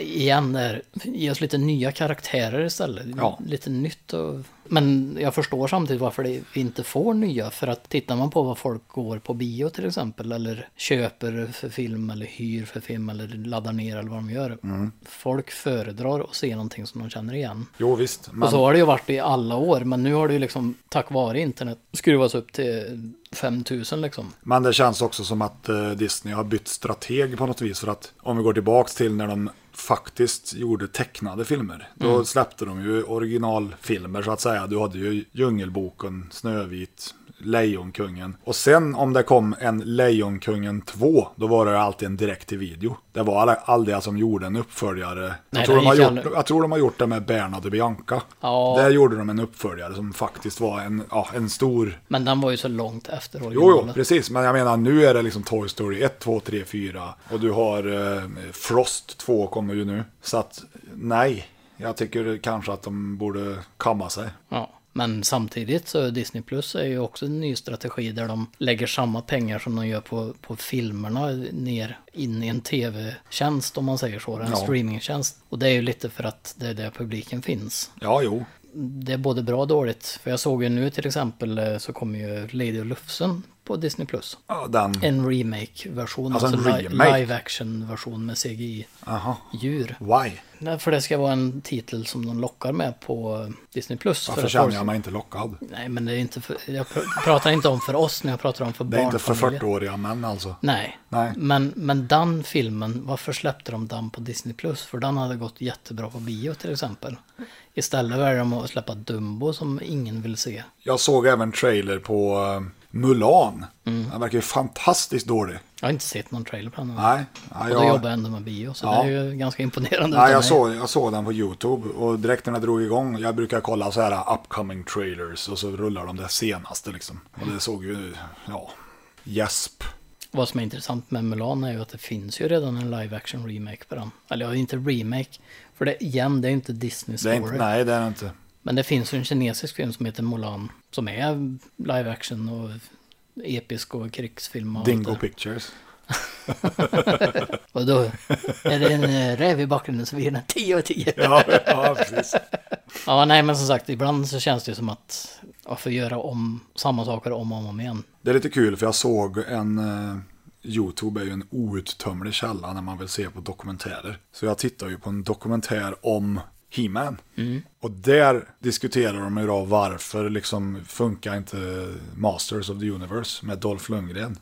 S3: Igen där, ge oss lite nya karaktärer istället.
S2: Ja.
S3: Lite nytt och... Men jag förstår samtidigt varför det, vi inte får nya. För att tittar man på vad folk går på bio till exempel. Eller köper för film eller hyr för film eller laddar ner eller vad de gör.
S2: Mm.
S3: Folk föredrar att se någonting som de känner igen.
S2: Jo, visst. Men
S3: Och så har det ju varit i alla år. Men nu har det ju liksom tack vare internet skruvats upp till 5000 liksom.
S2: Men det känns också som att eh, Disney har bytt strateg på något vis. För att om vi går tillbaka till när de faktiskt gjorde tecknade filmer. Då
S3: Mm.
S2: släppte de ju originalfilmer så att säga. Du hade ju Djungelboken, Snövit, Lejonkungen. Och sen om det kom en Lejonkungen 2, då var det alltid en direkt till video. Det var alla- aldrig som gjorde en uppföljare.
S3: Nej,
S2: jag, tror
S3: det
S2: de har
S3: gick
S2: gjort,
S3: aldrig.
S2: jag tror de har gjort det med Bernad och Bianca.
S3: Ja.
S2: Där gjorde de en uppföljare som faktiskt var en, ja, en stor
S3: Men den var ju så långt efter
S2: Jo,
S3: originalet.
S2: jo, precis. Men jag menar, nu är det liksom Toy Story 1, 2, 3, 4. Och du har eh, Frost 2 kommer ju nu. Så att, nej. Jag tycker kanske att de borde kamma sig.
S3: Ja, men samtidigt så Disney Plus är ju också en ny strategi där de lägger samma pengar som de gör på, på filmerna ner in i en tv-tjänst om man säger så, en
S2: Ja.
S3: streamingtjänst. Och det är ju lite för att det är där publiken finns.
S2: Ja, jo.
S3: Det är både bra och dåligt. För jag såg ju nu till exempel eh, så kommer ju Lady och Lufsen på Disney+. Plus.
S2: Ja, den.
S3: En remake-version,
S2: Alltså
S3: alltså,
S2: en
S3: li-
S2: remake?
S3: live-action-version med
S2: Aha.
S3: CGI-djur.
S2: Why?
S3: Nej, för det ska vara en titel som de lockar med på Disney+. Plus.
S2: Varför känner jag mig inte lockad?
S3: Nej, men det är inte för... Jag pr- pratar inte om för oss, men jag pratar om för
S2: Det är
S3: barnfamiljer.
S2: inte för 40-åriga män alltså.
S3: Nej.
S2: Nej.
S3: Men, men den filmen, varför släppte de den på Disney+. Plus? För den hade gått jättebra på bio till exempel. Istället väljer de att släppa Dumbo som ingen vill se.
S2: Jag såg även trailer på eh, Mulan.
S3: Mm.
S2: Den verkar ju fantastiskt dålig.
S3: Jag har inte sett någon trailer på den.
S2: Nej, nej,
S3: Och då
S2: jag,
S3: jobbar jag ändå med bio, så
S2: Ja.
S3: det är ju ganska imponerande.
S2: nej
S3: utav
S2: jag,
S3: mig.
S2: såg, jag såg den på YouTube och direkt när den drog igång, jag brukar kolla så här uh, upcoming trailers och så rullar de det senaste liksom. Och det såg ju, ja, gäsp.
S3: Vad som är intressant med Mulan är ju att det finns ju redan en live action remake på den. Eller ja, inte remake. För det, igen, det är ju inte Disney
S2: Det är inte,
S3: story.
S2: nej, det är det inte.
S3: Men det finns ju en kinesisk film som heter Mulan. Som är live action och episk och krigsfilm. Och allt
S2: Dingo
S3: det.
S2: Pictures.
S3: Och då är det en eh, räv i bakgrunden så blir den 10 av 10.
S2: Ja, ja precis.
S3: Ja, nej men som sagt, ibland så känns det ju som att varför göra om samma saker om och om igen?
S2: Det är lite kul för jag såg en... eh, Youtube är ju en outtömlig källa när man vill se på dokumentärer. Så jag tittar ju på en dokumentär om He-Man. Och där diskuterar de ju då varför liksom funkar inte Masters of the Universe med Dolph Lundgren.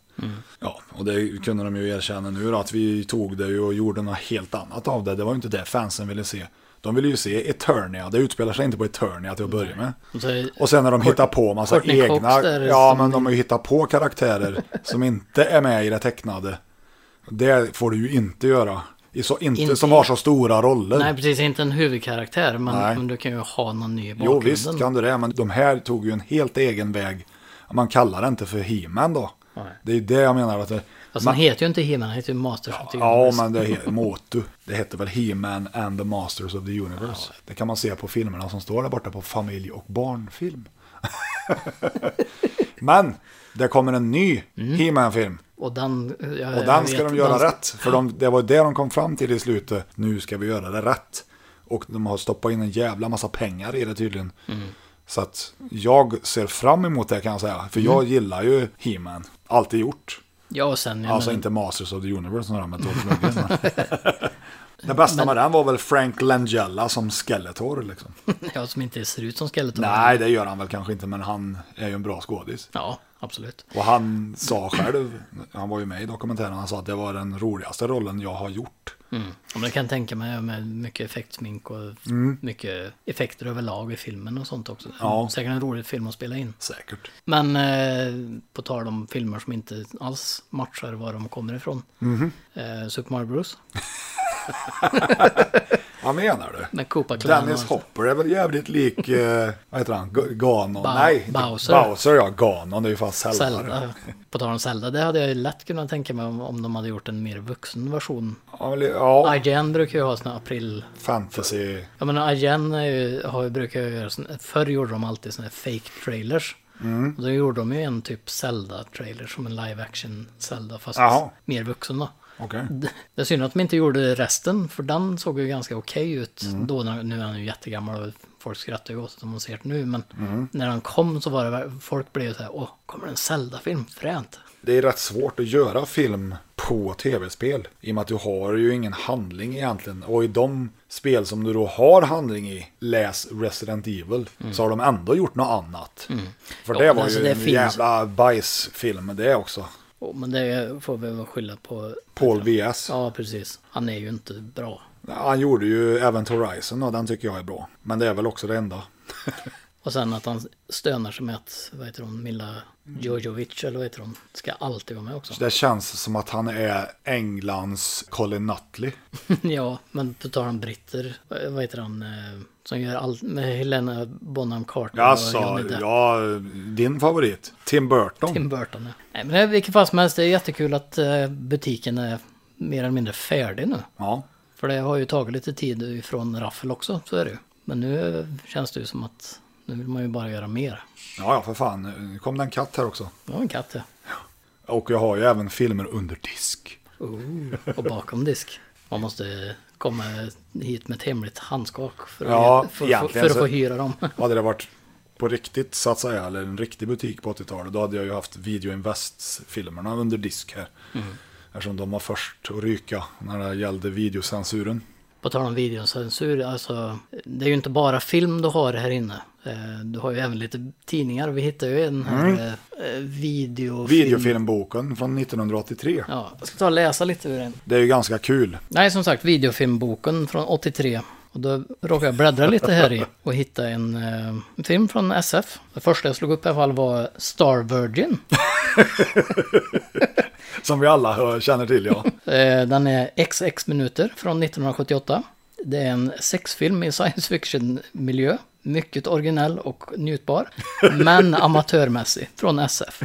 S2: Ja, och det kunde de ju erkänna nu då, att vi tog det ju och gjorde något helt annat av det. Det var ju inte det fansen ville se. De ville ju se Eternia, det utspelar sig inte på Eternia till att börja med.
S3: Och så-
S2: Och sen när de hittar på massa
S3: Courtney Cox
S2: egna...
S3: där
S2: Ja,
S3: som-
S2: men de har ju hittat på karaktärer som inte är med i det tecknade. Det får du ju inte göra. I så, inte,
S3: Inte-
S2: som har så stora roller.
S3: Nej, precis, inte en huvudkaraktär, men,
S2: Nej.
S3: men du kan ju ha någon ny i
S2: jo,
S3: bakgrunden.
S2: visst kan du det, men de här tog ju en helt egen väg. Man kallar det inte för He-Man då. Det är ju det jag menar. Att det,
S3: Fast
S2: man,
S3: den heter ju inte He-Man, den heter ju Masters of the
S2: ja,
S3: Universe.
S2: men det heter Motu. Det heter väl He-Man and the Masters of the Universe. Det kan man se på filmerna som står där borta på familj och barnfilm. men det kommer en ny He-Man-film.
S3: Och den, ja,
S2: Och
S3: Mm. Eh, jag
S2: den ska
S3: vet,
S2: de göra
S3: ska-
S2: rätt. För de, det var det de kom fram till i slutet. Nu ska vi göra det rätt. Och de har stoppat in en jävla massa pengar i det tydligen.
S3: Mm.
S2: Så att jag ser fram emot det kan jag säga.
S3: Mm.
S2: För jag gillar ju He-Man. Alltid gjort.
S3: Ja, och sen,
S2: alltså
S3: men,
S2: inte Masters of the Universe några med Dolph Lundgren. men- Det bästa med den var väl Frank Langella som Skeletor liksom.
S3: ja, som inte ser ut som Skeletor.
S2: Nej, det gör han väl kanske inte, men han är ju en bra skådis.
S3: Ja, absolut.
S2: Och han sa själv, han var ju med i dokumentären, han sa att det var den roligaste rollen jag har gjort.
S3: Ja, men jag kan tänka mig med mycket effektsmink och mycket effekter överlag i filmen och sånt också.
S2: Mm. Ja.
S3: Säkert en rolig film att spela in.
S2: Säkert.
S3: Men eh, på tal om filmer som inte alls matchar var de kommer ifrån.
S2: Mhm.
S3: Eh, Super Mario Bros.
S2: Vad menar du?
S3: Med Koopa Clan.
S2: Dennis
S3: och-
S2: Hopper är väl jävligt lik, eh, vad heter han, G- Ganon?
S3: Ba-
S2: Nej, inte-
S3: Bowser.
S2: Bowser ja, Ganon, det är ju fan Zelda.
S3: Zelda. På tal om Zelda, det hade jag ju lätt kunnat tänka mig om, om de hade gjort en mer vuxen version.
S2: Ja, men li- ja
S3: IGN brukar ju ha såna april...
S2: fantasy.
S3: Jag menar IGN är ju, har ju, brukar ju göra såna... Förr gjorde de alltid såna här fake trailers.
S2: Mm.
S3: Och då gjorde de ju en typ Zelda-trailer som en live action Zelda fast
S2: Jaha.
S3: mer vuxen då.
S2: Okej.
S3: Det- Det är synd att de inte gjorde resten, för den såg ju ganska okej ut
S2: Mm.
S3: då. När, nu är han ju jättegammal och folk skrattar ju åt att man ser det nu. Men
S2: Mm.
S3: när han kom så var det, ver- folk blev ju så här, åh, kommer det en Zelda-film? Fränt.
S2: Det är rätt svårt att göra film på tv-spel. I och med att du har ju ingen handling egentligen. Och i de spel som du då har handling i, läs Resident Evil, så har de ändå gjort något annat. För
S3: Mm. Ja,
S2: det
S3: men
S2: var
S3: alltså
S2: ju
S3: det
S2: en
S3: finns-
S2: jävla bajsfilm det också.
S3: Och, men det får vi väl skylla på.
S2: Paul V.S.
S3: Ja, precis. Han är ju inte bra.
S2: Han gjorde ju även Horizon och den tycker jag är bra. Men det är väl också det enda.
S3: Och sen att han stönar sig med att, vad heter hon, Milla Jojovic eller vad heter hon, ska alltid vara med också.
S2: Det känns som att han är Englands Colin Nutley.
S3: ja, men på tal om britter, eh, vad heter han, eh, som gör allt med Helena Bonham Carter
S2: Alltså,
S3: och Johnny Depp.
S2: ja, din favorit. Tim Burton.
S3: Tim Burton, ja. Nej, men i vilket fall som helst, det är jättekul att eh, butiken är mer eller mindre färdig nu.
S2: Ja.
S3: För det har ju tagit lite tid ifrån Raffel också, så är det ju. Men nu känns det ju som att nu vill man ju bara göra mer.
S2: ja, ja, för fan. Nu kom den katt här också.
S3: Ja, en katt ja.
S2: Och jag har ju även filmer under disk.
S3: Och bakom disk. Man måste komma hit med ett hemligt handskak för att,
S2: Ja,
S3: för, för,
S2: egentligen
S3: för att
S2: så-
S3: få hyra dem.
S2: Hade det varit på riktigt så att säga, eller en riktig butik på 80-talet, då hade jag ju haft videoinvest-filmerna under disk här. Eftersom de var först att ryka när det gällde videocensuren.
S3: På tal om videocensur, alltså det är ju inte bara film du har här inne. Eh, Du har ju även lite tidningar. Vi hittade ju en här
S2: Mm.
S3: eh, videofilm.
S2: Videofilmboken från 1983.
S3: Ja, jag ska ta och läsa lite ur den.
S2: Det är ju ganska kul.
S3: Nej, som sagt, videofilmboken från 83. Och då råkade jag bläddra lite här i och hitta en, eh, en film från SF. Det första jag slog upp i alla fall var Star Virgin.
S2: Som vi alla hör, känner till ja.
S3: Eh, Den är XX minuter från 1978. Det är en sexfilm i science fiction-miljö. Mycket originell och njutbar, men amatörmässig från SF.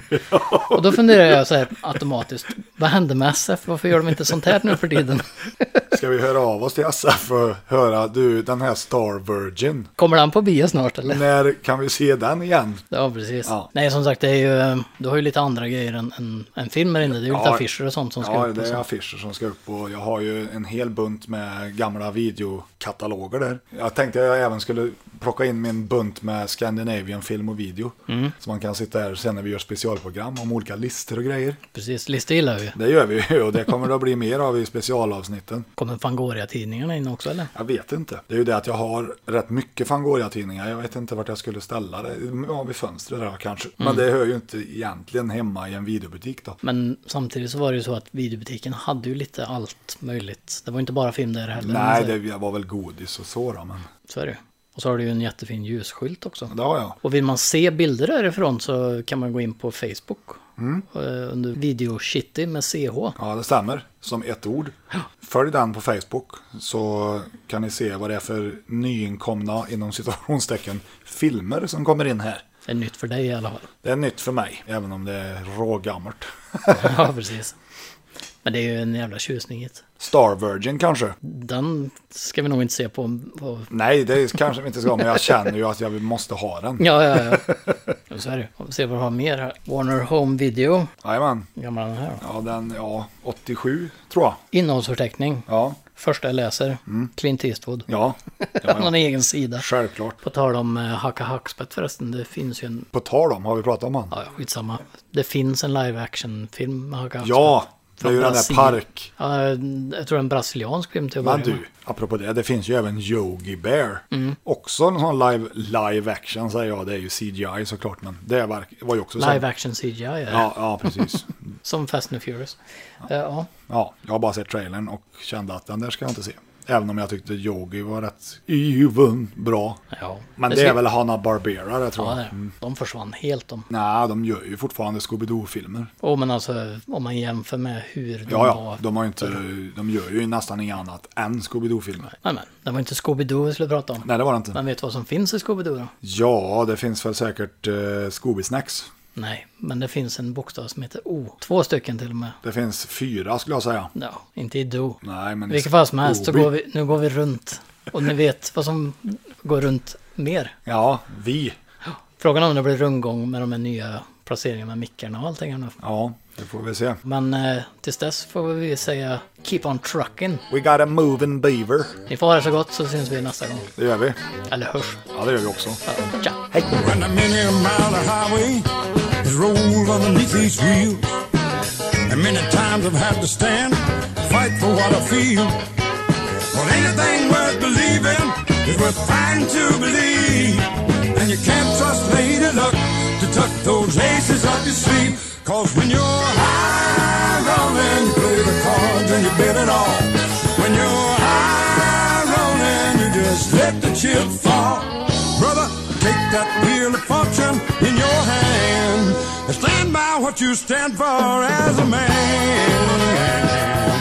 S3: Och då funderar jag så här automatiskt, vad hände med SF? Varför gör de inte sånt här nu för tiden?
S2: Ska vi höra av oss till SF och höra, du den här Star Virgin.
S3: Kommer den på bio snart eller?
S2: När kan vi se den igen?
S3: Ja, precis.
S2: Ja.
S3: Nej, som sagt, det är ju, eh, du har ju lite andra grejer än, än, än filmer inne. Det är ju lite affischer och sånt som ska
S2: ja,
S3: upp.
S2: det
S3: Och
S2: är
S3: sånt.
S2: affischer som ska upp och jag har ju en hel bunt med gamla videokataloger där. Jag tänkte jag även skulle plocka in min bunt med Scandinavian film och video.
S3: Mm.
S2: Så man kan sitta här sen när vi gör specialprogram om olika listor och grejer.
S3: Precis, Liste gillar vi ju.
S2: Det gör vi ju och det kommer det att bli mer av i specialavsnitten.
S3: Kommer Fangoria-tidningarna in också eller?
S2: Jag vet inte. Det är ju det att jag har rätt mycket Fangoria-tidningar. Jag vet inte vart jag skulle ställa det. Ja, vid fönstret där kanske.
S3: Mm.
S2: Men det hör ju inte egentligen hemma i en videobutik då.
S3: Men samtidigt så var det ju så att videobutiken hade ju lite allt möjligt. Det var inte bara film där heller.
S2: Nej,
S3: men så-
S2: det var väl godis och så då, men
S3: Så är det ju. Och så har du ju en jättefin ljusskylt också.
S2: det har jag.
S3: Och vill man se bilder därifrån så kan man gå in på Facebook.
S2: Mm.
S3: Eh, Under videoshitty med CH.
S2: Ja, det stämmer. Som ett ord. Följ den på Facebook så kan ni se vad det är för nyinkomna, inom situationstecken, filmer som kommer in här.
S3: Det är nytt för dig i alla fall.
S2: Det är nytt för mig, även om det är rågammalt.
S3: Ja, precis. Men det är ju en jävla tjusning hit.
S2: Star Virgin kanske?
S3: Den ska vi nog inte se på. på...
S2: Nej, det kanske vi inte ska, men jag känner ju att jag måste ha den.
S3: Ja, ja, ja. Så är det. Vi får se vad vi har mer här. Warner Home Video.
S2: Jajamän.
S3: Hur gammal är den här då?
S2: Ja, den, ja, 87 tror jag.
S3: Innehållsförteckning.
S2: Ja,
S3: Första jag läser.
S2: Mm.
S3: Clint Eastwood.
S2: ja,
S3: Han har en egen sida.
S2: självklart.
S3: På tal om eh, Hacka Hackspett förresten. Det finns ju en...
S2: På tal om, har vi pratat om han?
S3: Ja, ja, skitsamma. Det finns en live action-film med Hacka Hackspett.
S2: Ja, det är ju den
S3: Från
S2: där
S3: Brasilien.
S2: park.
S3: Ja, jag tror en brasiliansk film till att
S2: Men
S3: börja med.
S2: du, apropå det, det finns ju även Yogi Bear.
S3: Mm.
S2: Också en sån live, live action säger jag, det är ju CGI såklart, men det var, var ju också så.
S3: Live action CGI. Ja.
S2: Ja, ja, precis.
S3: Som Fast and Furious. Eh, Ja.
S2: Ja, jag har bara sett trailern och kände att den där ska jag inte se. Även om jag tyckte Yogi var rätt even bra.
S3: ja.
S2: Men det är väl Hanna Barbera det tror
S3: Ja,
S2: jag.
S3: det är det. De försvann helt de.
S2: Nej, de gör ju fortfarande Scooby-Doo-filmer.
S3: Åh men alltså om man jämför med hur de
S2: Ja,
S3: var.
S2: ja, de, har ju inte, de gör ju nästan inget annat än Scooby-Doo-filmer.
S3: Nej men, det var inte Scooby-Doo vi skulle prata om.
S2: Nej, det var det inte.
S3: Men vet du vad som finns i Scooby-Doo då?
S2: Ja, det finns väl säkert eh, Scooby-snacks.
S3: Nej, men det finns en bokstav som heter O. Två stycken till och med.
S2: Det finns fyra skulle jag säga.
S3: Ja, inte i Do.
S2: Nej, men Oh,
S3: I vilket fall som helst så
S2: Scooby.
S3: går vi, nu går vi runt. Och ni vet vad som går runt mer.
S2: Ja, vi.
S3: Frågan är om det blir rundgång med de här nya placeringarna med mickarna och allting här nu.
S2: Ja, det får vi se.
S3: Men eh, tills dess får vi säga keep on trucking.
S2: We got a moving beaver.
S3: Ni får ha det så gott så syns vi nästa gång.
S2: Det gör vi.
S3: Eller hörs.
S2: Ja, det gör vi också.
S3: Ja, Tja!
S11: When a many mile highway is rolled underneath these wheels. And many times I've had to stand, fight for what I feel. Well, anything worth believing is worth trying to believe. And you can't trust lady luck to tuck those aces up your sleeve. Cause when you're high rolling, you play the cards and you bet it all. When you're high rolling, you just let the chip fall. Brother, take that wheel of fortune in your hand and stand by what you stand for as a man.